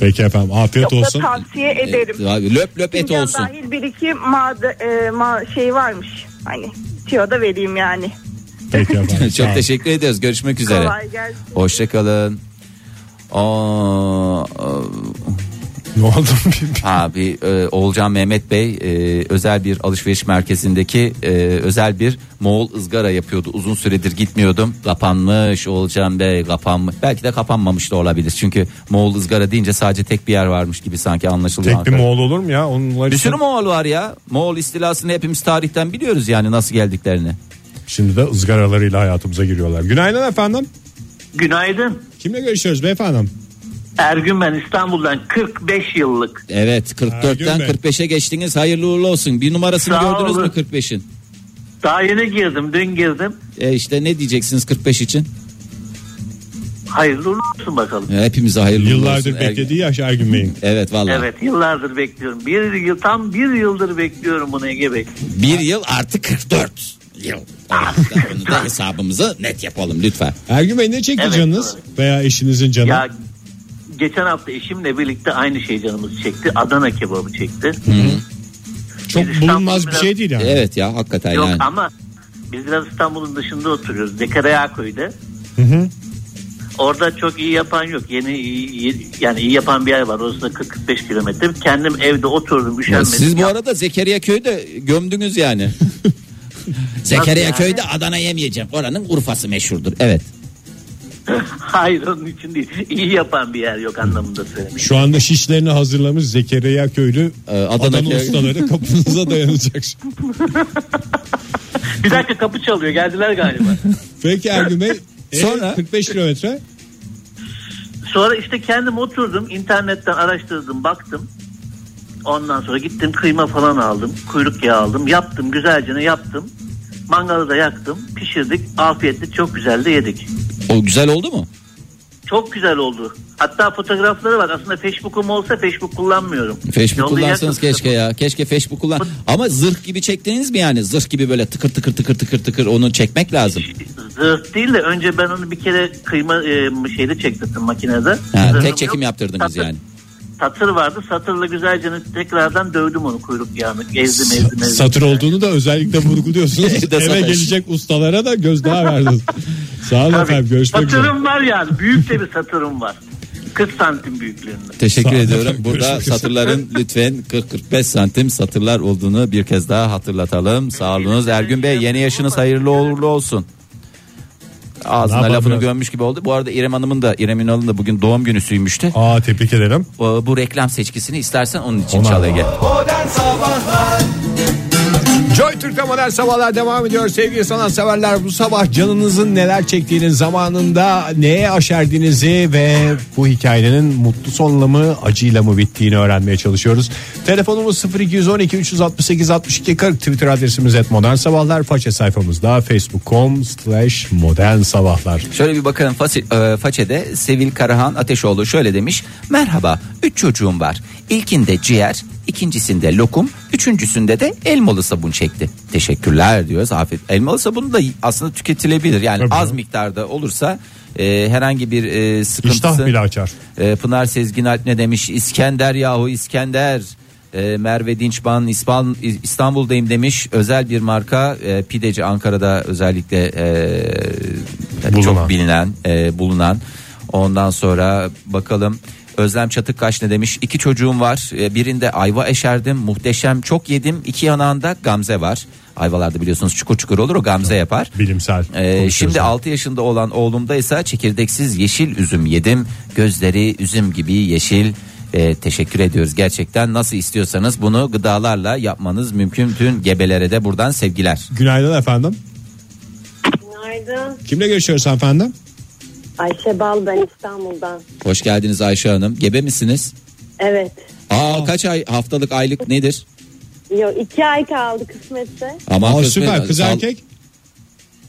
S2: Peki efendim afiyet
S11: Çok
S2: olsun.
S11: da tavsiye ederim.
S3: Ee, abi, löp löp et
S11: Fincan
S3: olsun.
S11: dahil bir iki made, e, ma, şey varmış. Hani tiyo da vereyim yani.
S2: Peki efendim. sağ
S3: Çok
S2: olun.
S3: teşekkür ediyoruz. Görüşmek üzere.
S11: Kolay gelsin.
S3: Hoşçakalın. Aa, aa, Ne oldu?
S2: [LAUGHS]
S3: ha bir e, Oğulcan Mehmet Bey e, özel bir alışveriş merkezindeki e, özel bir Moğol ızgara yapıyordu. Uzun süredir gitmiyordum. Kapanmış Oğulcan Bey kapanmış. Belki de kapanmamış da olabilir. Çünkü Moğol ızgara deyince sadece tek bir yer varmış gibi sanki anlaşılıyor.
S2: Tek bir Moğol olur mu ya? Onlar
S3: Bir
S2: için-
S3: sürü Moğol var ya. Moğol istilasını hepimiz tarihten biliyoruz yani nasıl geldiklerini.
S2: Şimdi de ızgaralarıyla hayatımıza giriyorlar. Günaydın efendim.
S12: Günaydın.
S2: Kimle görüşüyoruz beyefendim?
S12: Ergün ben İstanbul'dan 45 yıllık.
S3: Evet 44'ten 45'e geçtiniz. Hayırlı uğurlu olsun. Bir numarasını
S12: Sağ
S3: gördünüz
S12: olun.
S3: mü 45'in?
S12: Daha yeni girdim dün girdim.
S3: E işte ne diyeceksiniz 45 için?
S12: Hayırlı uğurlu olsun bakalım.
S3: E, Hepimize hayırlı uğurlu olsun.
S2: Yıllardır beklediği yaş Ergün Bey'in.
S3: Evet vallahi.
S12: Evet yıllardır bekliyorum. Bir yıl tam bir yıldır bekliyorum bunu Ege Bey. Ah,
S3: Bir yıl artık 44 yıl. Bunu da hesabımızı net yapalım lütfen.
S2: Ergün Bey ne çekti
S12: Evet,
S2: canınız? Veya eşinizin canı?
S12: Ya geçen hafta eşimle birlikte aynı şey canımız çekti. Adana kebabı çekti.
S2: Çok bulunmaz bir şey değil yani.
S3: Evet ya hakikaten
S12: Yok
S3: yani.
S12: ama biz biraz İstanbul'un dışında oturuyoruz. Zekeraya köyde.
S2: Hı hı.
S12: Orada çok iyi yapan yok. Yeni iyi- iyi- yani iyi yapan bir yer var. Orası da 45 kilometre. Kendim evde oturdum
S3: Ya
S12: üşenmedim.
S3: Siz bu arada Zekeriya köyde gömdünüz
S12: [LAUGHS]
S3: yani. Zekeriya
S12: yani?
S3: köyde Adana yemeyeceğim. Oranın Urfa'sı meşhurdur. Evet.
S12: Hayır onun için değil. İyi yapan bir yer yok anlamında söylemiş.
S2: Şu anda şişlerini hazırlamış Zekeriya Köylü
S3: Ee,
S2: Adana,
S12: köy-
S3: [LAUGHS]
S2: ustaları kapınıza dayanacak. şimdi.
S12: Bir dakika kapı çalıyor. Geldiler galiba.
S2: Peki Ergün Bey. Sonra? 45 kilometre.
S12: Sonra işte kendim oturdum. internetten araştırdım. Baktım. Ondan sonra gittim kıyma falan aldım. Kuyruk yağı aldım. Yaptım. Güzelce ne yaptım. Mangalı da yaktım. Pişirdik. Afiyetle çok güzel de yedik.
S3: O güzel oldu mu?
S12: Çok güzel oldu. Hatta fotoğrafları var. Aslında Facebook'um olsa Facebook kullanmıyorum.
S3: Facebook
S12: Yolda
S3: kullansanız
S12: yaktım.
S3: keşke ya. Keşke Facebook kullan. Ama zırh gibi çektiniz mi yani? Zırh gibi böyle tıkır tıkır tıkır tıkır tıkır onu çekmek lazım.
S12: Zırh değil de önce ben onu bir kere kıyma e, şeyde çektirdim makinede.
S3: Ha,
S12: Zırhım
S3: tek çekim
S12: yok.
S3: yaptırdınız
S12: Satır-
S3: yani.
S12: Satır vardı. Satırla güzelce tekrardan dövdüm onu kuyruk yağını. Ezdim ezdim ezdim.
S5: Satır olduğunu da özellikle
S3: [LAUGHS]
S5: vurguluyorsunuz.
S12: Evde
S5: Eve
S12: satış.
S5: gelecek ustalara da gözdağı verdiniz. Sağ olun efendim görüşmek üzere.
S12: Satırım var yani. Büyük de bir satırım var. 40 santim büyüklüğünde.
S3: Teşekkür
S5: Sağ olun. [LAUGHS]
S3: ediyorum. [LAUGHS] Burada
S5: Görüşmek üzere.
S2: [LAUGHS]
S12: [LAUGHS]
S3: satırların lütfen 40-45 santim satırlar olduğunu bir kez daha hatırlatalım. Sağolunuz Ergün Bey yeni yaşınız hayırlı uğurlu olsun. Ağzına
S2: Ne yapalım
S3: lafını
S2: ya?
S3: gömmüş gibi oldu. Bu arada İrem Hanım'ın da İrem Ünal'ın da bugün doğum günüsüymüş de.
S2: Aa tebrik ederim.
S3: Bu reklam seçkisini istersen onun için
S2: Ona-
S3: çal Ege.
S1: Modern Sabahlar
S2: Joy Türk'te modern sabahlar devam ediyor sevgili sanatseverler. Bu sabah canınızın neler çektiğini zamanında neye aşerdiğinizi ve bu hikayenin mutlu sonla mı acıyla mı bittiğini öğrenmeye çalışıyoruz. Telefonumuz 0212 368 62 40 Twitter adresimiz et modern sabahlar. Faça sayfamızda facebook.com slash modern sabahlar.
S3: Şöyle bir bakalım fasi- e, façede Sevil Karahan Ateşoğlu şöyle demiş. Merhaba üç çocuğum var. İlkinde ciğer, ikincisinde lokum, üçüncüsünde de elmalı sabun çekti. Teşekkürler diyoruz afiyet. Elmalı sabun da aslında tüketilebilir. Yani az miktarda olursa e, herhangi bir e, sıkıntısı.
S2: İştah bile açar.
S3: E, Pınar Sezgin Alp ne demiş? İskender yahu İskender. E, Merve Dinçman İspan, İstanbul'dayım demiş. Özel bir marka e, pideci Ankara'da özellikle e,
S2: Bulunan.
S3: çok bilinen e, bulunan. Ondan sonra bakalım Özlem Çatıkkaş ne demiş? İki çocuğum var. E, birinde ayva eşerdim. Muhteşem çok yedim. İki yanağında gamze var. Ayvalarda biliyorsunuz çukur çukur olur o gamze yapar.
S2: Bilimsel.
S3: Ee, şimdi 6 yaşında olan oğlumda ise çekirdeksiz yeşil üzüm yedim. Gözleri üzüm gibi yeşil. Ee, teşekkür ediyoruz gerçekten. Nasıl istiyorsanız bunu gıdalarla yapmanız mümkün. Tüm gebelere de buradan sevgiler.
S2: Günaydın efendim.
S13: Günaydın.
S2: Kimle görüşüyoruz efendim?
S13: Ayşe Bal ben İstanbul'dan.
S3: Hoş geldiniz Ayşe Hanım. Gebe misiniz?
S13: Evet.
S3: Aa, kaç ay haftalık aylık nedir?
S13: Yo iki ay kaldı kısmetse.
S3: Aman
S5: Aa,
S3: kısmet-
S5: süper kız
S3: Sağ-
S5: erkek.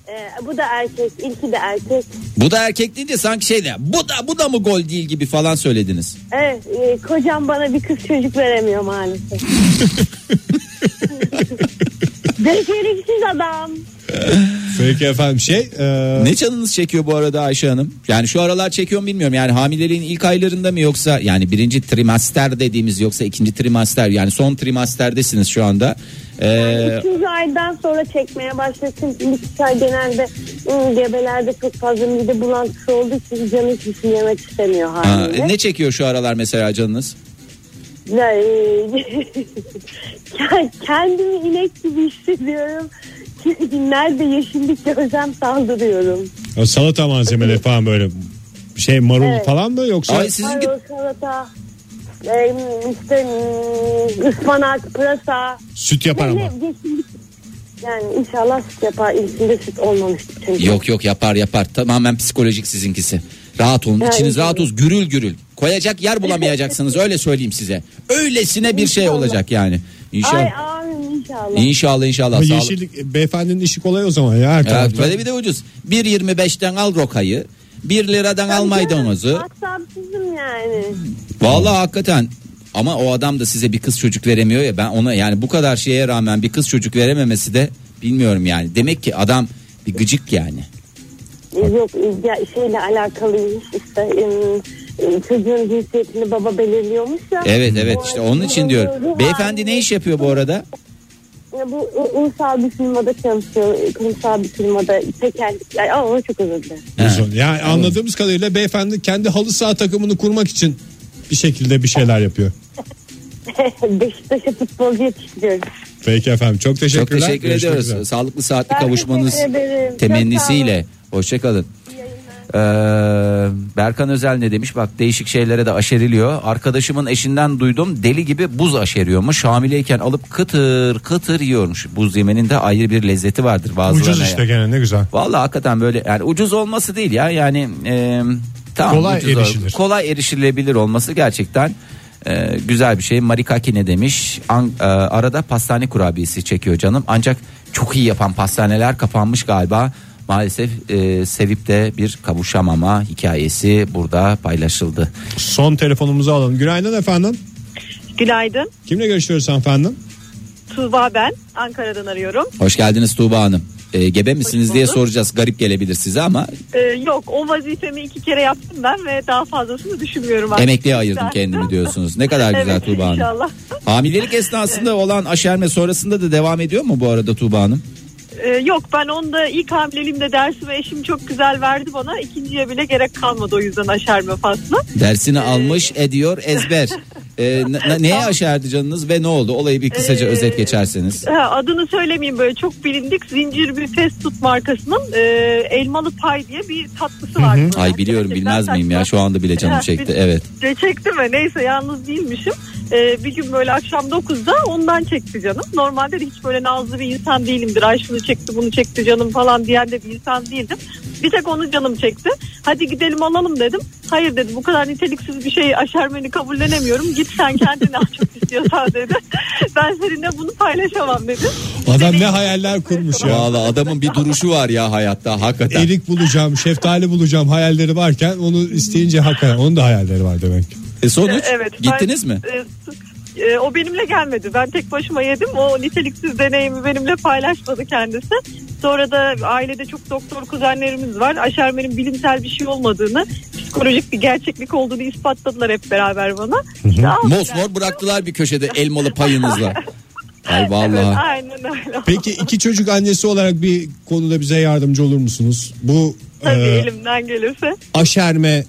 S13: Ee, bu da erkek. İlki de erkek.
S3: Bu da erkek deyince sanki şey de bu da bu da mı gol değil gibi falan söylediniz.
S13: Evet. e, kocam bana bir kız çocuk
S3: [LAUGHS]
S13: veremiyor maalesef. Beceriksiz adam.
S5: [LAUGHS] Peki efendim şey e,
S3: Ne canınız çekiyor bu arada Ayşe Hanım? Yani şu aralar çekiyor mu bilmiyorum. Yani hamileliğin ilk aylarında mı yoksa yani birinci trimaster dediğimiz yoksa ikinci trimaster yani son trimasterdesiniz şu anda. Ee,
S13: Üçüncü aydan sonra çekmeye başlasın. İlk üç ay genelde ım, gebelerde çok fazla mide bulantısı olduğu için canı hiç yemek istemiyor
S3: ha,
S13: haliyle.
S3: ne çekiyor şu aralar mesela canınız?
S13: Ne- Ke- Kendimi inek gibi hissediyorum. Nerede yeşillik görsem saldırıyorum.
S2: O salata malzemeleri falan böyle şey marul
S13: Evet.
S2: falan mı yoksa?
S13: Marul, salata, e, işte mm, ıspanak, pırasa.
S2: Süt yapar
S13: Ne-
S2: ama.
S13: ne- yeşillik. Yani inşallah süt yapar. İçinde süt olmamıştır çünkü.
S3: Yok yok yapar yapar. Tamamen psikolojik sizinkisi. Rahat olun.
S13: Ya,
S3: İçiniz
S13: inşallah.
S3: rahat olsun. Gürül gürül. Koyacak yer bulamayacaksınız. Öyle söyleyeyim size. Öylesine bir şey olacak yani. İnşallah.
S13: Ay amin inşallah.
S3: İnşallah inşallah.
S2: Ama
S3: Sağlık.
S2: yeşillik e, beyefendinin işi kolay o zaman ya. Her
S3: Evet,
S2: tarafta.
S3: böyle bir de ucuz. 1.25'ten al rokayı. 1 liradan al maydanozu.
S13: Sapsızım yani.
S3: Vallahi hakikaten ama o adam da size bir kız çocuk veremiyor ya ben ona yani bu kadar şeye rağmen bir kız çocuk verememesi de bilmiyorum yani. Demek ki adam bir gıcık yani.
S13: E, Yok e, ya şeyle alakalıymış işte em, e, çocuğun cinsiyetini baba belirliyormuş ya.
S3: Evet evet işte onun için diyorum.
S13: Bu-
S3: Beyefendi ne iş yapıyor bu arada?
S13: Ya bu u- ulusal bir firmada çalışıyor. e, Kurumsal bir firmada tekerlik. Ay, ama çok özür dilerim. [LAUGHS]
S2: Uzun. Yani anladığımız kadarıyla beyefendi kendi halı saha takımını kurmak için bir şekilde bir şeyler yapıyor.
S13: Beşiktaş'a futbolcu yetiştiriyoruz.
S2: Peki efendim çok teşekkürler.
S3: Çok teşekkür
S2: Görüşmek
S3: ediyoruz.
S2: üzere.
S3: Sağlıklı saatli
S13: Ben
S3: kavuşmanız
S13: teşekkür ederim. Çok
S3: temennisiyle. Hoşçakalın. Ee, Berkan Özel ne demiş bak değişik şeylere de aşeriliyor arkadaşımın eşinden duydum deli gibi buz aşeriyormuş hamileyken alıp kıtır kıtır yiyormuş buz yemenin de ayrı bir lezzeti vardır bazılarına
S2: Ucuz işte gene ne güzel.
S3: Vallahi hakikaten böyle yani ucuz olması değil ya yani e, tamam,
S2: Kolay
S3: ucuz ol-
S2: erişilir.
S3: kolay erişilebilir olması gerçekten e, güzel bir şey. Marikaki ne demiş? An- e, arada pastane kurabiyesi çekiyor canım. Ancak çok iyi yapan pastaneler kapanmış galiba. Maalesef e, sevip de bir kavuşamama hikayesi burada paylaşıldı.
S2: Son telefonumuzu alalım. Günaydın efendim.
S14: Günaydın.
S2: Kimle görüşüyoruz efendim?
S14: Tuğba ben. Ankara'dan arıyorum.
S3: Hoş geldiniz Tuğba Hanım. E, gebe misiniz diye soracağız. Garip gelebilir size ama
S14: Ee, yok o vazifemi iki kere yaptım ben ve daha fazlasını düşünmüyorum. artık.
S3: emekliye ayırdım
S14: Güzel.
S3: kendimi diyorsunuz. Ne kadar güzel
S14: [LAUGHS] evet,
S3: Tuğba Hanım.
S14: İnşallah.
S3: Hamilelik esnasında olan aşerme sonrasında da devam ediyor mu bu arada Tuğba Hanım?
S14: Ee, yok ben onda ilk hamileliğimde dersimi eşim çok güzel verdi bana. İkinciye bile gerek kalmadı o yüzden aşerme faslı.
S3: Dersini
S14: Ee,
S3: almış ediyor
S14: [LAUGHS]
S3: ezber. Ee, n- n- neye aşerdi canınız ve ne oldu? Olayı bir kısaca
S14: Ee,
S3: özet geçerseniz.
S14: Ha, adını söylemeyeyim böyle çok bilindik zincir bir fast food markasının e, elmalı pay diye bir tatlısı var.
S3: Ay
S14: şey.
S3: biliyorum bilmez miyim ya şu anda bile canım
S14: Ha,
S3: çekti
S14: biz-
S3: evet.
S14: Ya Çekti mi? Neyse yalnız değilmişim. Ee, bir gün böyle akşam 9'da ondan çekti canım. Normalde de hiç böyle nazlı bir insan değilimdir. Ay şunu çekti bunu çekti canım falan diyen de bir insan değildim. Bir tek onu canım çekti. Hadi gidelim alalım dedim. Hayır dedi bu kadar niteliksiz bir şey aşermeni kabullenemiyorum. Git sen kendini al çok [LAUGHS] istiyorsan dedi. Ben seninle bunu paylaşamam dedi.
S2: Adam ne hayaller kurmuş ya.
S3: Valla adamın bir duruşu var ya hayatta hakikaten.
S2: Erik bulacağım, şeftali bulacağım hayalleri varken onu isteyince hakikaten onun da hayalleri var demek.
S3: E sonuç
S14: Evet, ben- e, e, o benimle gelmedi. Ben tek başıma yedim. O niteliksiz deneyimi benimle paylaşmadı kendisi. Sonra da ailede çok doktor kuzenlerimiz var. Aşermenin bilimsel bir şey olmadığını, psikolojik bir gerçeklik olduğunu ispatladılar hep beraber bana. İşte al-
S3: Mosmor bıraktılar bir köşede elmalı
S14: [LAUGHS]
S3: payınızla. Ay
S14: Evet,
S3: vallahi.
S14: aynen öyle.
S2: Peki iki çocuk annesi olarak bir konuda bize yardımcı olur musunuz? Bu
S14: [LAUGHS] Tabii
S2: e,
S14: elimden gelirse.
S2: aşerme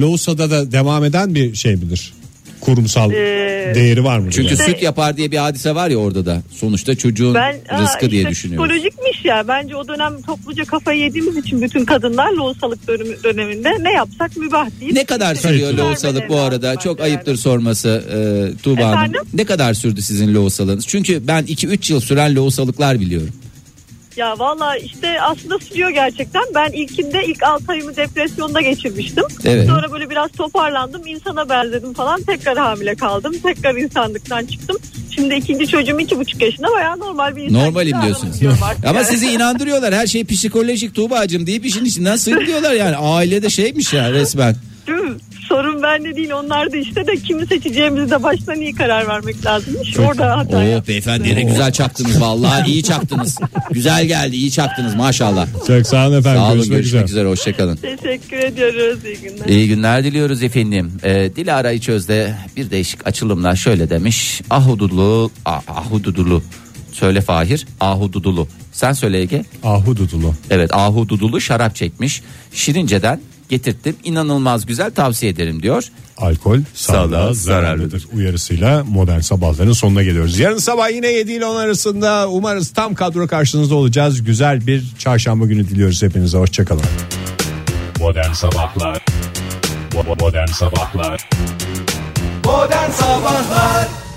S2: Loğusa'da da devam eden bir şey midir? Kurumsal
S14: Ee,
S2: değeri var mı?
S3: Çünkü süt yapar diye bir hadise var ya orada da. Sonuçta çocuğun
S14: aa,
S3: rızkı diye
S14: işte
S3: düşünüyorum.
S14: Psikolojikmiş ya. Bence o dönem topluca kafayı yediğimiz için bütün kadınlar loğusalık dönemi- döneminde ne yapsak mübah değil.
S3: Ne kadar sürüyor lohusalık bu arada? Çok ayıptır sorması e, Tuğba Hanım.
S14: Efendim?
S3: Ne kadar sürdü sizin lohusalığınız? Çünkü ben 2-3 yıl süren lohusalıklar biliyorum.
S14: Ya valla işte aslında sürüyor gerçekten. Ben ilkinde ilk 6 ayımı depresyonda geçirmiştim.
S3: Evet.
S14: Sonra böyle biraz toparlandım. insana benzedim falan. Tekrar hamile kaldım. Tekrar insanlıktan çıktım. Şimdi ikinci çocuğum iki buçuk yaşında bayağı normal bir insan.
S3: Normalim
S14: gibi
S3: diyorsunuz.
S14: davranıyorum artık
S3: Ama
S14: yani. [LAUGHS]
S3: sizi inandırıyorlar. Her şey psikolojik Tuğba'cığım deyip işin içinden sıyrılıyorlar yani. Ailede şeymiş ya resmen.
S14: Değil mi? Sorun bende değil onlar da işte de kimi seçeceğimizde baştan iyi karar vermek lazımmış. Orada hata
S3: Oo Oh, beyefendi ne güzel çaktınız vallahi iyi çaktınız. güzel geldi iyi çaktınız maşallah.
S2: Çok sağ olun efendim.
S3: Sağ olun
S2: Görüşmek
S3: görüşmek,
S2: üzere.
S3: üzere
S14: [LAUGHS]
S3: hoşçakalın.
S14: Teşekkür ediyoruz. İyi günler.
S3: İyi günler diliyoruz efendim. Ee, Dilara İçöz'de bir değişik açılımla şöyle demiş. Ahududulu, ah- ahududulu. Söyle Fahir, ahududulu. Sen söyle Ege.
S2: Ahududulu.
S3: Evet ahududulu şarap çekmiş. Şirince'den getirttim. İnanılmaz güzel tavsiye ederim diyor.
S2: Alkol sağlığa zararlıdır uyarısıyla modern sabahların sonuna geliyoruz. Yarın sabah yine 7 ile 10 arasında umarız tam kadro karşınızda olacağız. Güzel bir çarşamba günü diliyoruz hepinize. Hoşçakalın.
S15: Modern Sabahlar Modern Sabahlar
S11: Modern Sabahlar